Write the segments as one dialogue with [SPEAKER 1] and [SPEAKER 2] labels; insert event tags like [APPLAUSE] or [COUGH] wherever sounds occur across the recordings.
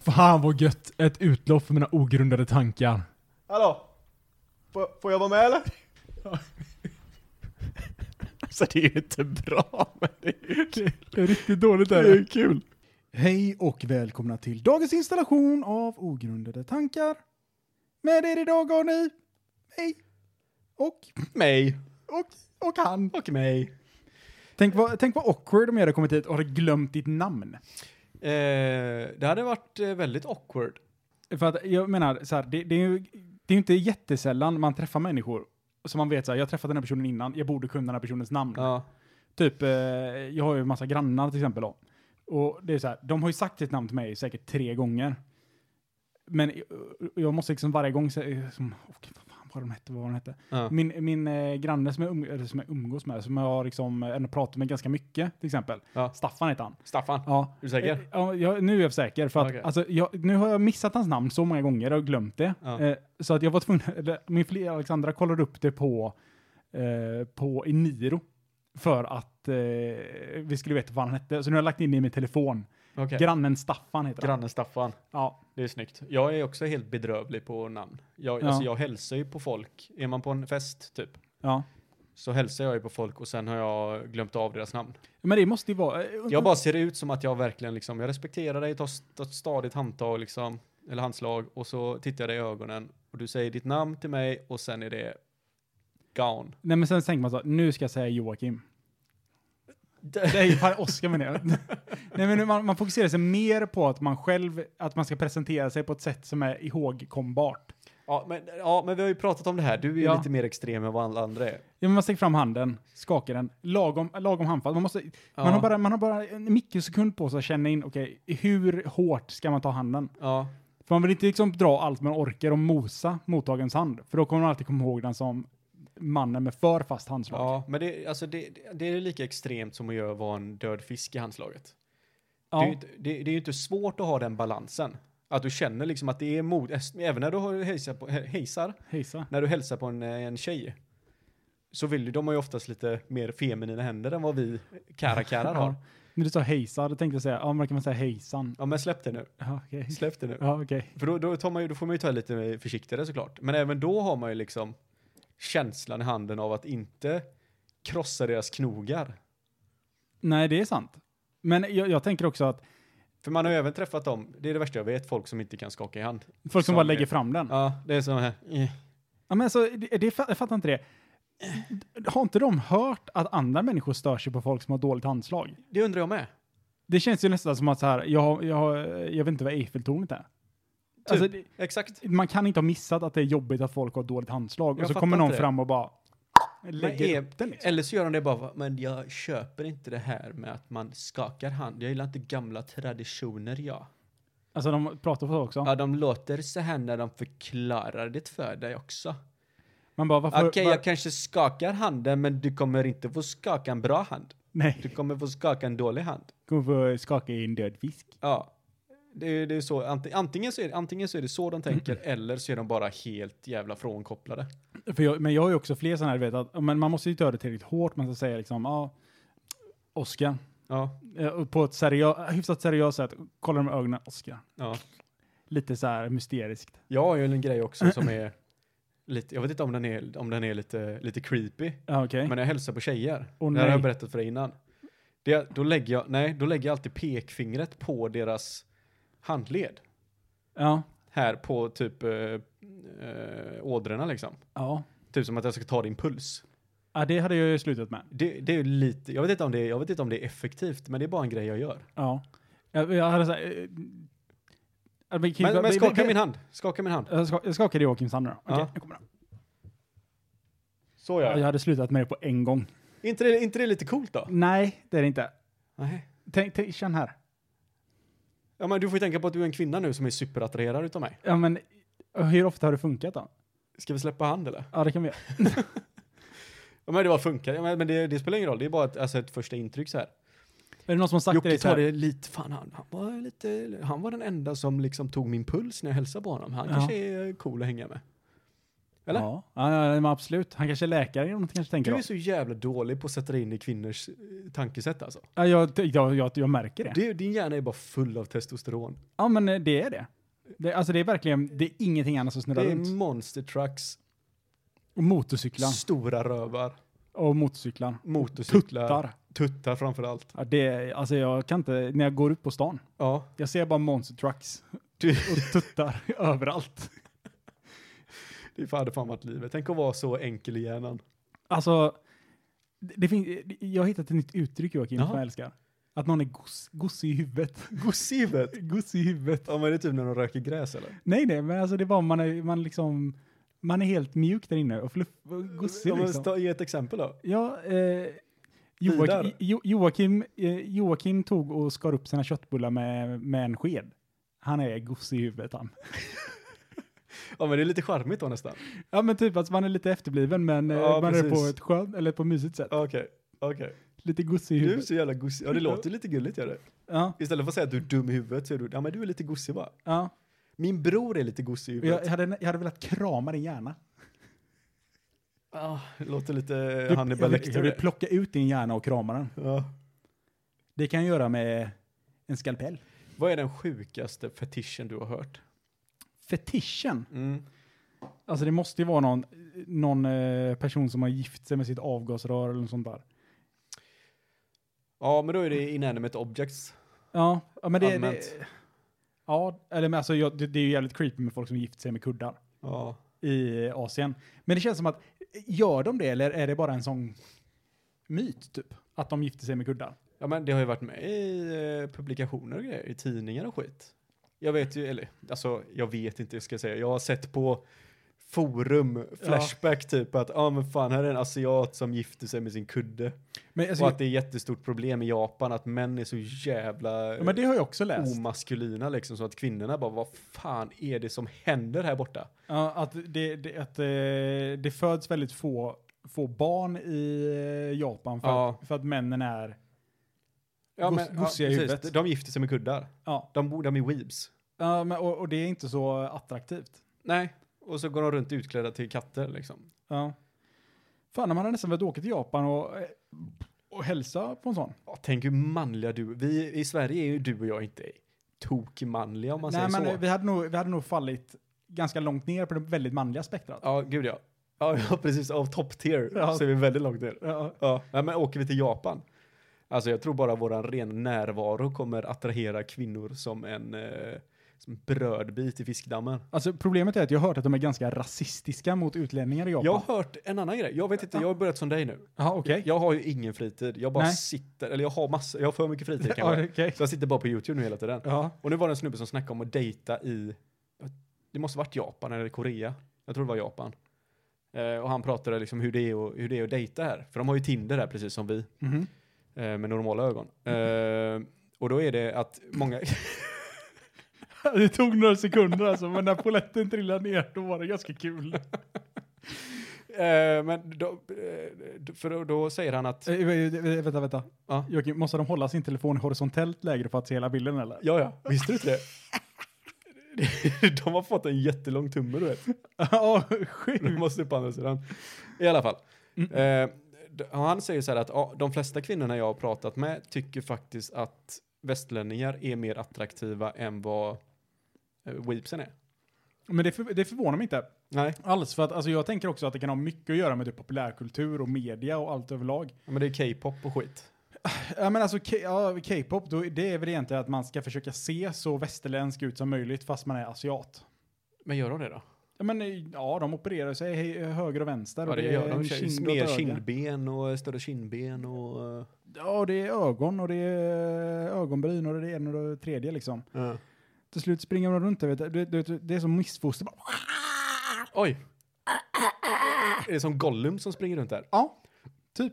[SPEAKER 1] Fan vad gött! Ett utlopp för mina ogrundade tankar.
[SPEAKER 2] Hallå? Får, får jag vara med eller?
[SPEAKER 3] [LAUGHS] Alltså det är ju inte bra, men det är ju kul.
[SPEAKER 1] Det är riktigt dåligt
[SPEAKER 3] Det är ju kul.
[SPEAKER 4] Hej och välkomna till dagens installation av Ogrundade tankar. Med er idag har ni mig och,
[SPEAKER 3] Mig.
[SPEAKER 4] och, och han.
[SPEAKER 3] Och mig.
[SPEAKER 4] Tänk vad, tänk vad awkward om jag hade kommit hit och hade glömt ditt namn.
[SPEAKER 3] Eh, det hade varit eh, väldigt awkward.
[SPEAKER 4] För att jag menar, så här, det, det är ju det är ju inte jättesällan man träffar människor som man vet så här, jag har träffat den här personen innan, jag borde kunna den här personens namn.
[SPEAKER 3] Ja.
[SPEAKER 4] Typ, eh, jag har ju en massa grannar till exempel då. Och det är så här, de har ju sagt sitt namn till mig säkert tre gånger. Men eh, jag måste liksom varje gång säga, som, okej, vad fan var de hette, vad var de hette.
[SPEAKER 3] ja.
[SPEAKER 4] Min, min eh, granne som jag, um, eller som jag umgås med, som jag har liksom, eh, ändå pratat med ganska mycket till exempel.
[SPEAKER 3] Ja.
[SPEAKER 4] Staffan heter han.
[SPEAKER 3] Staffan,
[SPEAKER 4] Ja.
[SPEAKER 3] är du säker?
[SPEAKER 4] Eh, Ja, jag, nu är jag säker. För att,
[SPEAKER 3] Okej.
[SPEAKER 4] alltså, jag, nu har jag missat hans namn så många gånger och glömt det.
[SPEAKER 3] Ja.
[SPEAKER 4] Eh, så att jag var tvungen, eller, min flickvän Alexandra kollade upp det på, eh, på i Niro. För att eh, vi skulle veta vad han hette. Så nu har jag lagt in det i min telefon.
[SPEAKER 3] Okej.
[SPEAKER 4] Grannen Staffan heter han.
[SPEAKER 3] Grannen Staffan.
[SPEAKER 4] Ja.
[SPEAKER 3] Det är snyggt. Jag är också helt bedrövlig på namn. Jag,
[SPEAKER 4] Ja.
[SPEAKER 3] alltså, jag hälsar ju på folk. Är man på en fest typ,
[SPEAKER 4] ja.
[SPEAKER 3] så hälsar jag ju på folk och sen har jag glömt av deras namn.
[SPEAKER 4] Men det måste ju vara... eh,
[SPEAKER 3] Jag bara ser ut som att jag verkligen liksom, jag respekterar dig, tar st- tar ett stadigt handtag liksom, eller handslag och så tittar jag dig i ögonen och du säger ditt namn till mig och sen är det gone.
[SPEAKER 4] Nej men sen tänker man så, nu ska jag säga Joakim. Nej, fan, Oskar menar
[SPEAKER 3] [LAUGHS]
[SPEAKER 4] jag. Nej men man, man fokuserar sig mer på att man själv, att man ska presentera sig på ett sätt som är ihågkombart.
[SPEAKER 3] Ja men, ja, men vi har ju pratat om det här. Du är ju
[SPEAKER 4] Ja.
[SPEAKER 3] lite mer extrem än vad alla andra är.
[SPEAKER 4] Ja, men man sträcker fram handen, skakar den, lagom, lagom handfast. Man, måste,
[SPEAKER 3] Ja.
[SPEAKER 4] man, har bara, man har bara en mikrosekund på sig att känna in, okej, hur hårt ska man ta handen?
[SPEAKER 3] Ja,
[SPEAKER 4] För man vill inte liksom dra allt man orkar och mosa mottagarens hand, för då kommer man alltid komma ihåg den som mannen med för fast handslag.
[SPEAKER 3] ja men det, alltså det, det är lika extremt som att göra vara en död fisk i handslaget.
[SPEAKER 4] Ja.
[SPEAKER 3] Det, är ju inte, det, det är ju inte svårt att ha den balansen. Att du känner liksom att det är mod, även när du har- hejsar, på, he- hejsar
[SPEAKER 4] Hejsa.
[SPEAKER 3] när du hälsar på en, eh, en tjej så vill du, de har ju oftast lite mer feminina händer än vad vi karakarar har.
[SPEAKER 4] Ja. När du sa hejsa, då tänkte jag säga, ja men då kan man säga hejsan.
[SPEAKER 3] Ja men släpp det nu,
[SPEAKER 4] Ja, okej.
[SPEAKER 3] släpp det nu.
[SPEAKER 4] Ja, okej.
[SPEAKER 3] För då, då, tar man ju, då får man ju ta lite försiktigare såklart. Men även då har man ju liksom känslan i handen av att inte krossa deras knogar.
[SPEAKER 4] Nej, det är sant. Men jag, jag tänker också att
[SPEAKER 3] För man har ju även träffat dem, det är det värsta jag vet, folk som inte kan skaka i hand.
[SPEAKER 4] folk som
[SPEAKER 3] Som
[SPEAKER 4] bara
[SPEAKER 3] det.
[SPEAKER 4] lägger fram den. Ja.
[SPEAKER 3] Ja, det är så här. eh.
[SPEAKER 4] men alltså, det, det, jag fattar inte det. Har inte de hört att andra människor stör sig på folk som har dåligt handslag?
[SPEAKER 3] Det undrar jag med.
[SPEAKER 4] Det känns ju nästan som att så här, jag, har- jag, har- jag vet inte vad Eiffeltornet är.
[SPEAKER 3] Typ.
[SPEAKER 4] Alltså, det,
[SPEAKER 3] Exakt.
[SPEAKER 4] man kan inte ha missat att det är jobbigt att folk har dåligt handslag.
[SPEAKER 3] Jag
[SPEAKER 4] Och så
[SPEAKER 3] fattar
[SPEAKER 4] kommer någon
[SPEAKER 3] inte det.
[SPEAKER 4] fram och bara
[SPEAKER 3] Men
[SPEAKER 4] lägger
[SPEAKER 3] är-
[SPEAKER 4] upp den liksom.
[SPEAKER 3] Eller så gör de det bara, för- men jag köper inte det här med att man skakar hand. Jag gillar inte gamla traditioner, ja.
[SPEAKER 4] Alltså de pratar på så också.
[SPEAKER 3] Ja, de låter så här när de förklarar det för dig också.
[SPEAKER 4] Man bara,
[SPEAKER 3] Okej,
[SPEAKER 4] varför? var,
[SPEAKER 3] jag kanske skakar handen, men du kommer inte få skaka en bra hand. Du
[SPEAKER 4] Nej,
[SPEAKER 3] kommer få skaka en dålig hand.
[SPEAKER 4] kommer få skaka i en död fisk.
[SPEAKER 3] Ja. Det är, det är så, anti- antingen, så är, det- antingen så är det så de [CLEARS THROAT] tänker, eller så är de bara helt jävla frånkopplade.
[SPEAKER 4] För jag, men jag har ju också fler sådana här, du vet, att, men man måste ju inte göra det tillräckligt hårt. Man ska säga liksom, ja, ah, Oskar.
[SPEAKER 3] Ja,
[SPEAKER 4] Eh, och På ett seriö, hyfsat seriöst sätt, kolla dem i ögonen, Oskar.
[SPEAKER 3] ja. Jag
[SPEAKER 4] Lite så här mysteriskt.
[SPEAKER 3] har ju en grej också som [CLEARS THROAT] är lite, jag vet inte om den är, om den är lite, lite creepy.
[SPEAKER 4] Ja, okej.
[SPEAKER 3] Men när jag hälsar på tjejer,
[SPEAKER 4] Åh,
[SPEAKER 3] det här har
[SPEAKER 4] nej.
[SPEAKER 3] jag berättat för dig innan. Det, då, lägger jag, nej, då lägger jag alltid pekfingret på deras handled.
[SPEAKER 4] Ja,
[SPEAKER 3] Här på typ eh, eh, ådrorna liksom.
[SPEAKER 4] ja.
[SPEAKER 3] Typ som att jag ska ta din puls.
[SPEAKER 4] Ja, det hade jag ju slutat med.
[SPEAKER 3] Det, det är ju lite, jag vet, inte om det, är- jag vet inte om det är effektivt, men det är bara en grej jag gör.
[SPEAKER 4] Ja. Jag, jag hade eh, såhär... Men,
[SPEAKER 3] Men, men skaka min hand, skaka min hand.
[SPEAKER 4] Jag ska- jag skakade Joakims hand nu då. Okej,
[SPEAKER 3] Ja.
[SPEAKER 4] nu kommer den.
[SPEAKER 3] Så
[SPEAKER 4] Ja,
[SPEAKER 3] gör
[SPEAKER 4] Jag
[SPEAKER 3] jag.
[SPEAKER 4] hade slutat med det på en gång.
[SPEAKER 3] Inte det, inte det lite coolt då?
[SPEAKER 4] Nej, det är det inte.
[SPEAKER 3] Nej.
[SPEAKER 4] Tänk, tänk, känn här.
[SPEAKER 3] Ja men du får ju tänka på att du är en kvinna nu som är superattraherad utav mig.
[SPEAKER 4] Ja, men hur ofta har det funkat då?
[SPEAKER 3] Ska vi släppa hand eller?
[SPEAKER 4] Ja, det kan vi göra.
[SPEAKER 3] Ja men det bara funkar, ja, men men det, det spelar ingen roll, det är bara ett, alltså ett första intryck så här.
[SPEAKER 4] Är det någon som har sagt till
[SPEAKER 3] Jocke
[SPEAKER 4] dig så här?
[SPEAKER 3] tar det lite, fan han, han var lite, han var den enda som liksom tog min puls när jag hälsade på honom. Han
[SPEAKER 4] Ja.
[SPEAKER 3] kanske är cool att hänga med. Eller?
[SPEAKER 4] Ja, ja, ja men absolut. Han kanske är läkare eller något kanske tänker
[SPEAKER 3] Du
[SPEAKER 4] då.
[SPEAKER 3] är så jävla dålig på att sätta dig in i kvinnors eh, tankesätt alltså.
[SPEAKER 4] Ja, jag, jag, jag, jag märker det.
[SPEAKER 3] Du, din hjärna är bara full av testosteron.
[SPEAKER 4] Ja, men eh, det är det. det. Alltså det är verkligen, det är ingenting annat som snurrar
[SPEAKER 3] Det är
[SPEAKER 4] runt.
[SPEAKER 3] monster trucks,
[SPEAKER 4] Och motorcyklar.
[SPEAKER 3] stora rövar,
[SPEAKER 4] Och motorcyklar.
[SPEAKER 3] motorcyklar, tuttar,
[SPEAKER 4] Tuttar.
[SPEAKER 3] tuttar framförallt.
[SPEAKER 4] Ja, det, alltså jag kan inte, när jag går ut på stan,
[SPEAKER 3] Ja.
[SPEAKER 4] jag ser bara monster trucks
[SPEAKER 3] Du-
[SPEAKER 4] och tuttar [LAUGHS] överallt.
[SPEAKER 3] Det hade fan varit livet. Tänk att vara så enkel i hjärnan.
[SPEAKER 4] Alltså, det, det finns, jag har hittat ett nytt uttryck Joakim
[SPEAKER 3] Jaha.
[SPEAKER 4] som jag älskar. Att någon är goss, goss i huvudet. [LAUGHS]
[SPEAKER 3] Gossivet!
[SPEAKER 4] Goss i huvudet.
[SPEAKER 3] Ja men det är typ när de röker gräs eller?
[SPEAKER 4] Nej, nej, men alltså det var man är, man liksom, man är helt mjuk där inne och fluff, och gossig
[SPEAKER 3] ja, men,
[SPEAKER 4] liksom.
[SPEAKER 3] ta, ge ett exempel då.
[SPEAKER 4] Ja, eh,
[SPEAKER 3] Vidare.
[SPEAKER 4] Joakim, jo, Joakim, eh, Joakim tog och skar upp sina köttbullar med, med en sked. Han är gossig i huvudet han.
[SPEAKER 3] Ja men det är lite charmigt då nästan.
[SPEAKER 4] Ja men typ att alltså, man är lite efterbliven men eh,
[SPEAKER 3] Ja,
[SPEAKER 4] man är på
[SPEAKER 3] precis.
[SPEAKER 4] ett skönt eller på mysigt sätt.
[SPEAKER 3] Okej, okej.
[SPEAKER 4] Lite gossig i
[SPEAKER 3] Du är
[SPEAKER 4] huvudet.
[SPEAKER 3] så jävla gossig. Ja det låter lite gulligt gör det.
[SPEAKER 4] Ja,
[SPEAKER 3] Istället för att säga att du är dum i huvudet så är du, ja men du är lite gossig va?
[SPEAKER 4] ja.
[SPEAKER 3] Min bror är lite gossig i
[SPEAKER 4] Och Jag, jag,
[SPEAKER 3] huvudet.
[SPEAKER 4] hade, jag hade velat krama din hjärna.
[SPEAKER 3] Ja, Ah, det låter lite
[SPEAKER 4] Jag-
[SPEAKER 3] Hannibal
[SPEAKER 4] jag, vill,
[SPEAKER 3] Lecter.
[SPEAKER 4] jag vill
[SPEAKER 3] det.
[SPEAKER 4] plocka ut din hjärna och krama den.
[SPEAKER 3] Ja.
[SPEAKER 4] Det kan jag göra med en skalpell.
[SPEAKER 3] Vad är den sjukaste fetischen du har hört?
[SPEAKER 4] Fetischen.
[SPEAKER 3] Mm.
[SPEAKER 4] Alltså det måste ju vara någon, någon eh, person som har gift sig med sitt avgasrör eller något sånt där.
[SPEAKER 3] Ja men då är det inanimate objects.
[SPEAKER 4] Ja, ja, men det... det
[SPEAKER 3] Allmänt.
[SPEAKER 4] ja, eller men alltså jag, det, det är ju jävligt creepy med folk som gift sig med kuddar
[SPEAKER 3] Ja.
[SPEAKER 4] i Asien. Men det känns som att, gör de det eller är det bara en sån myt typ? Att de gifter sig med kuddar?
[SPEAKER 3] Ja men det har ju varit med i eh, publikationer och grejer, i tidningar och skit. Jag vet ju, eller alltså jag vet inte, jag ska säga, jag har sett på forum, flashback typ att ja ah, men fan här är en asiat som gifter sig med sin kudde.
[SPEAKER 4] Men, alltså,
[SPEAKER 3] och att det är jättestort problem i Japan att män är så jävla
[SPEAKER 4] ja, men det har jag också läst.
[SPEAKER 3] omaskulina liksom så att kvinnorna bara vad fan är det som händer här borta?
[SPEAKER 4] Ja, att det, det, att, eh, det föds väldigt få, få barn i eh, Japan för,
[SPEAKER 3] Ja.
[SPEAKER 4] att, för att männen är...
[SPEAKER 3] Ja,
[SPEAKER 4] Gos- gossiga i
[SPEAKER 3] precis.
[SPEAKER 4] huvudet.
[SPEAKER 3] De gifter sig med kuddar.
[SPEAKER 4] Ja,
[SPEAKER 3] De bor, de är weebs.
[SPEAKER 4] ja men, och, och det är inte så attraktivt.
[SPEAKER 3] Nej, och så går de runt utklädda till katter liksom.
[SPEAKER 4] Ja. Fan, man hade nästan velat åka till Japan och, eh, och hälsa på en sån.
[SPEAKER 3] Ja, tänk hur manliga du vi I Sverige är ju du och jag inte tokmanliga om man
[SPEAKER 4] Nej,
[SPEAKER 3] säger
[SPEAKER 4] men
[SPEAKER 3] så.
[SPEAKER 4] Vi, hade nog, vi hade nog fallit ganska långt ner på det väldigt manliga spektrat.
[SPEAKER 3] Ja, gud ja. Ja, [LAUGHS] ja precis. Av top tier
[SPEAKER 4] Ja.
[SPEAKER 3] så är vi väldigt långt ner.
[SPEAKER 4] Ja.
[SPEAKER 3] Ja, Nej, men åker vi till Japan. Alltså jag tror bara våran ren närvaro kommer attrahera kvinnor som en eh, som en brödbit i fiskdammen.
[SPEAKER 4] Alltså, problemet är att jag har hört att de är ganska rasistiska mot utlänningar i Japan.
[SPEAKER 3] Jag har hört en annan grej. Jag vet inte, jag har börjat som dig nu.
[SPEAKER 4] Ja, okej.
[SPEAKER 3] Jag har ju ingen fritid. Jag bara
[SPEAKER 4] Nej.
[SPEAKER 3] sitter, eller jag har massa, jag har för
[SPEAKER 4] [LAUGHS]
[SPEAKER 3] mycket fritid
[SPEAKER 4] Ja,
[SPEAKER 3] kanske.
[SPEAKER 4] okej.
[SPEAKER 3] Så jag sitter bara på YouTube nu hela tiden.
[SPEAKER 4] Ja.
[SPEAKER 3] Och nu var det en snubbe som snackade om att dejta i, det måste varit Japan eller Korea. Jag tror det var Japan. Eh, och han pratade liksom hur det, är att, hur det är att dejta här. För de har ju Tinder här precis som vi,
[SPEAKER 4] Mhm. [LAUGHS]
[SPEAKER 3] eh, med normala ögon. Eh, och då är det att många, [LAUGHS]
[SPEAKER 4] Det tog några sekunder alltså, men när poletten trillade ner då var det ganska kul.
[SPEAKER 3] eh, men då, eh, för då, då säger han
[SPEAKER 4] Eh,
[SPEAKER 3] att,
[SPEAKER 4] vänta, vänta.
[SPEAKER 3] Ja.
[SPEAKER 4] Joakim, måste de hålla sin telefon horisontellt lägre för att se hela bilden eller?
[SPEAKER 3] ja ja, visste du inte det? [LAUGHS] De har fått en jättelång tumme du vet.
[SPEAKER 4] [LAUGHS] Ja, sjukt.
[SPEAKER 3] De måste upp på andra sidan. I alla fall. Eh, d- och han säger så här att ja, de flesta kvinnorna jag har pratat med tycker faktiskt att västlänningar är mer attraktiva än vad eh, weepsen är.
[SPEAKER 4] Men det, för, det förvånar mig inte.
[SPEAKER 3] Nej,
[SPEAKER 4] Alls, för att alltså, jag tänker också att det kan ha mycket att göra med typ, populärkultur och media och allt överlag.
[SPEAKER 3] men det är K-pop och skit.
[SPEAKER 4] Ja men alltså K- ja, K-pop, då- det är väl egentligen att man ska försöka se så västerländsk ut som möjligt fast man är asiat.
[SPEAKER 3] Men gör de det då?
[SPEAKER 4] Ja men eh, ja, de opererar sig hej- höger och vänster.
[SPEAKER 3] Ja,
[SPEAKER 4] och
[SPEAKER 3] det gör
[SPEAKER 4] en
[SPEAKER 3] de. Kind
[SPEAKER 4] kind
[SPEAKER 3] mer
[SPEAKER 4] åt öga.
[SPEAKER 3] kindben och större kindben och... eh,
[SPEAKER 4] Ja, det är ögon och det är eh, ögonbryn och det är en och det tredje liksom. Till slut springer de runt där, vet du. Du- du- du- Det är som missfoster. bara.
[SPEAKER 3] Oj! Är det som Gollum som springer runt där?
[SPEAKER 4] Ja, typ.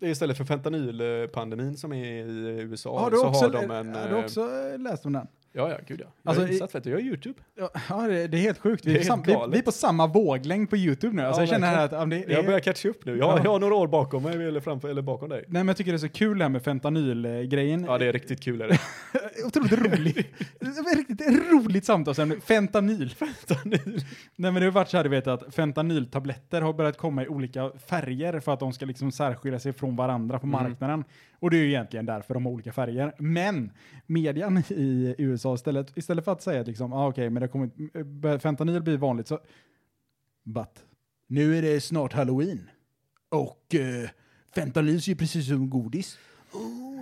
[SPEAKER 3] Det är istället för fentanylpandemin som är i USA
[SPEAKER 4] Har du
[SPEAKER 3] så
[SPEAKER 4] också,
[SPEAKER 3] har de en...
[SPEAKER 4] har du
[SPEAKER 3] eh,
[SPEAKER 4] också eh, läst om den?
[SPEAKER 3] Ja, ja, gud ja. Jag
[SPEAKER 4] Alltså,
[SPEAKER 3] är insatt vet du, jag är YouTube.
[SPEAKER 4] Ja, ja, det, det är helt sjukt. Vi
[SPEAKER 3] Det
[SPEAKER 4] är,
[SPEAKER 3] är
[SPEAKER 4] sam-
[SPEAKER 3] helt
[SPEAKER 4] vi,
[SPEAKER 3] galet.
[SPEAKER 4] vi är på samma våglängd på YouTube nu. Alltså,
[SPEAKER 3] Ja,
[SPEAKER 4] jag känner här att ja, men det, det
[SPEAKER 3] Jag
[SPEAKER 4] är,
[SPEAKER 3] börjar catcha upp nu. Jag,
[SPEAKER 4] Ja.
[SPEAKER 3] jag har några år bakom mig, eller framför, eller bakom dig.
[SPEAKER 4] Nej, men jag tycker det är så kul det här med eh, fentanyl-grejen.
[SPEAKER 3] Ja, det är riktigt kul.
[SPEAKER 4] [LAUGHS]
[SPEAKER 3] Är det.
[SPEAKER 4] Otroligt roligt. Det var [LAUGHS] Riktigt roligt samtalsämne. Fentanyl.
[SPEAKER 3] Fentanyl.
[SPEAKER 4] [LAUGHS] Nej men det har varit så här du vet att fentanyltabletter har börjat komma i olika färger för att de ska liksom särskilja sig från varandra på
[SPEAKER 3] Mm.
[SPEAKER 4] marknaden. Och det är ju egentligen därför de har olika färger. Men median i USA istället, istället för att säga att liksom, ah, okej men det har kommit, eh, fentanyl blir vanligt så, but, nu är det snart halloween. Och eh, fentanyl är ju precis som godis.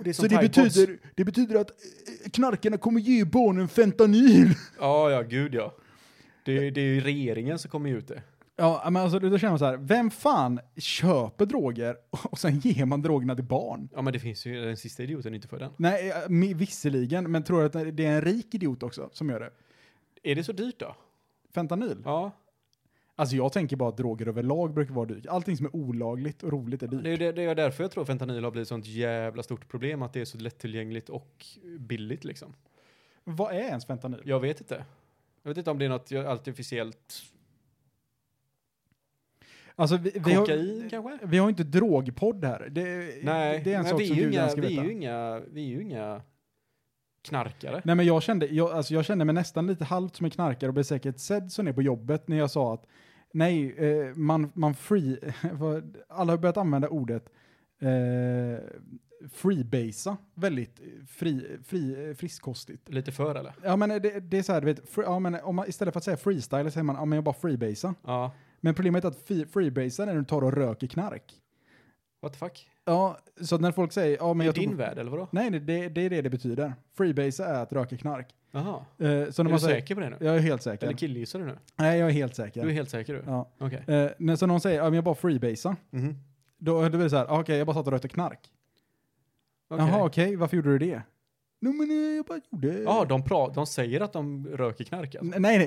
[SPEAKER 3] det är
[SPEAKER 4] Så Oh, det betyder, det betyder att eh, knarkarna kommer ge barnen fentanyl. [LAUGHS]
[SPEAKER 3] Ja, ja, gud ja. Det, det är ju regeringen som kommer ut det.
[SPEAKER 4] Ja, men alltså då känner man så här, vem fan köper droger [LAUGHS] och sen ger man drogerna till barn?
[SPEAKER 3] Ja, men det finns ju den sista idioten inte för den.
[SPEAKER 4] Nej, eh, mi- visserligen, men tror du att det är en rik idiot också som gör det?
[SPEAKER 3] Är det så dyrt då?
[SPEAKER 4] Fentanyl?
[SPEAKER 3] Ja,
[SPEAKER 4] Alltså jag tänker bara att droger överlag brukar vara dyrt. Allting som är olagligt och roligt är
[SPEAKER 3] det
[SPEAKER 4] dyrt.
[SPEAKER 3] är, det, det är därför jag tror fentanyl har blivit sånt jävla stort problem, att det är så lättillgängligt och billigt liksom.
[SPEAKER 4] Vad är ens fentanyl?
[SPEAKER 3] Jag vet inte. Jag vet inte om det är något artificiellt
[SPEAKER 4] Alltså vi, vi har...
[SPEAKER 3] kokain kanske?
[SPEAKER 4] Vi har ju inte drogpodd här. Det,
[SPEAKER 3] Nej,
[SPEAKER 4] det är en
[SPEAKER 3] men
[SPEAKER 4] sak
[SPEAKER 3] vi, är
[SPEAKER 4] som
[SPEAKER 3] ju
[SPEAKER 4] du
[SPEAKER 3] inga,
[SPEAKER 4] gärna ska
[SPEAKER 3] vi,
[SPEAKER 4] veta.
[SPEAKER 3] är ju inga, vi är ju inga knarkare.
[SPEAKER 4] Nej men jag kände, jag, alltså jag kände mig nästan lite halvt som en knarkare och blev säkert sedd som är på jobbet när jag sa att nej, eh, man, man free, [LAUGHS] vad- alla har börjat använda ordet eh, freebasea väldigt fri, fri, eh, friskkostigt.
[SPEAKER 3] Lite för eller?
[SPEAKER 4] Ja men det, det är så här, du vet, fr- ja, men om man, istället för att säga freestyle säger man, ja men jag bara freebasea.
[SPEAKER 3] Ja.
[SPEAKER 4] Men problemet är att fi- freebasea är när du tar och röker knark.
[SPEAKER 3] What the fuck?
[SPEAKER 4] Ja, så när folk säger, ja men
[SPEAKER 3] I
[SPEAKER 4] jag
[SPEAKER 3] din
[SPEAKER 4] tog...
[SPEAKER 3] värld eller vadå?
[SPEAKER 4] Nej, nej, det, det är det det betyder. Freebasea är att röka knark.
[SPEAKER 3] Jaha.
[SPEAKER 4] Eh, så
[SPEAKER 3] Är
[SPEAKER 4] när
[SPEAKER 3] du
[SPEAKER 4] man säger,
[SPEAKER 3] säker på det nu?
[SPEAKER 4] jag är helt säker.
[SPEAKER 3] Eller killgissar du nu?
[SPEAKER 4] Nej, jag är helt
[SPEAKER 3] Du är
[SPEAKER 4] säker.
[SPEAKER 3] helt säker du?
[SPEAKER 4] Ja. Mhm.
[SPEAKER 3] Okej.
[SPEAKER 4] Eh, när så någon säger, ja, men jag bara freebasea. Då, då blir det så här, ah, okej, jag bara satt och rökte knark.
[SPEAKER 3] Okej.
[SPEAKER 4] Jaha, okej, varför gjorde du det? Nej, men eh, jag bara gjorde...
[SPEAKER 3] Ja, de, pra- de säger att de röker knark alltså.
[SPEAKER 4] N- Nej,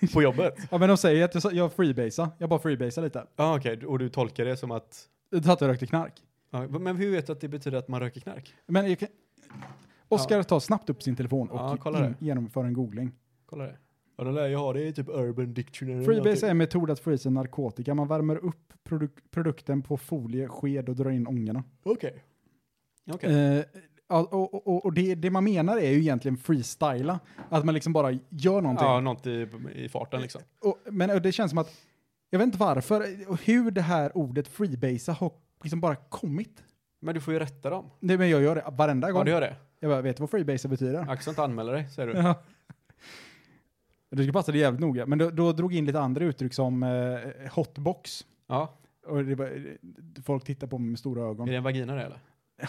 [SPEAKER 4] nej. [LAUGHS]
[SPEAKER 3] På jobbet?
[SPEAKER 4] Ja, men de säger att jag, sa- jag freebasea. Jag bara freebasea lite.
[SPEAKER 3] Ja, okej. Och du tolkar det som att...
[SPEAKER 4] Jag satt och rökte knark.
[SPEAKER 3] Ja, men hur vet du att det betyder att man röker knark?
[SPEAKER 4] Men jag kan... Oskar tar snabbt upp sin telefon och
[SPEAKER 3] Ja, kolla
[SPEAKER 4] in, genomför en googling.
[SPEAKER 3] Kolla det. Ja, den lär jag ha. Det är typ Urban Dictionary. eller
[SPEAKER 4] Freebase är
[SPEAKER 3] någonting.
[SPEAKER 4] en metod att få i sig narkotika. Man värmer upp produk- produkten på folie, sked och drar in ångorna.
[SPEAKER 3] Okej. Okej.
[SPEAKER 4] Eh, ja, och och, och, och det, det man menar är ju egentligen freestyla. Att man liksom bara gör någonting.
[SPEAKER 3] Ja, något i, i farten liksom.
[SPEAKER 4] Och, men och det känns som att, jag vet inte varför, och hur det här ordet freebasea har liksom bara kommit.
[SPEAKER 3] Men du får ju rätta dem.
[SPEAKER 4] Nej men jag gör det varenda gång.
[SPEAKER 3] Ja, du gör det.
[SPEAKER 4] Jag bara, vet du vad freebasea betyder?
[SPEAKER 3] Axel inte anmäler dig, säger du.
[SPEAKER 4] Ja. Du ska passa dig jävligt noga. Men då, då drog in lite andra uttryck som eh, hotbox.
[SPEAKER 3] Ja.
[SPEAKER 4] Och det var, folk tittar på mig med stora
[SPEAKER 3] Är
[SPEAKER 4] ögon.
[SPEAKER 3] det en vagina det eller?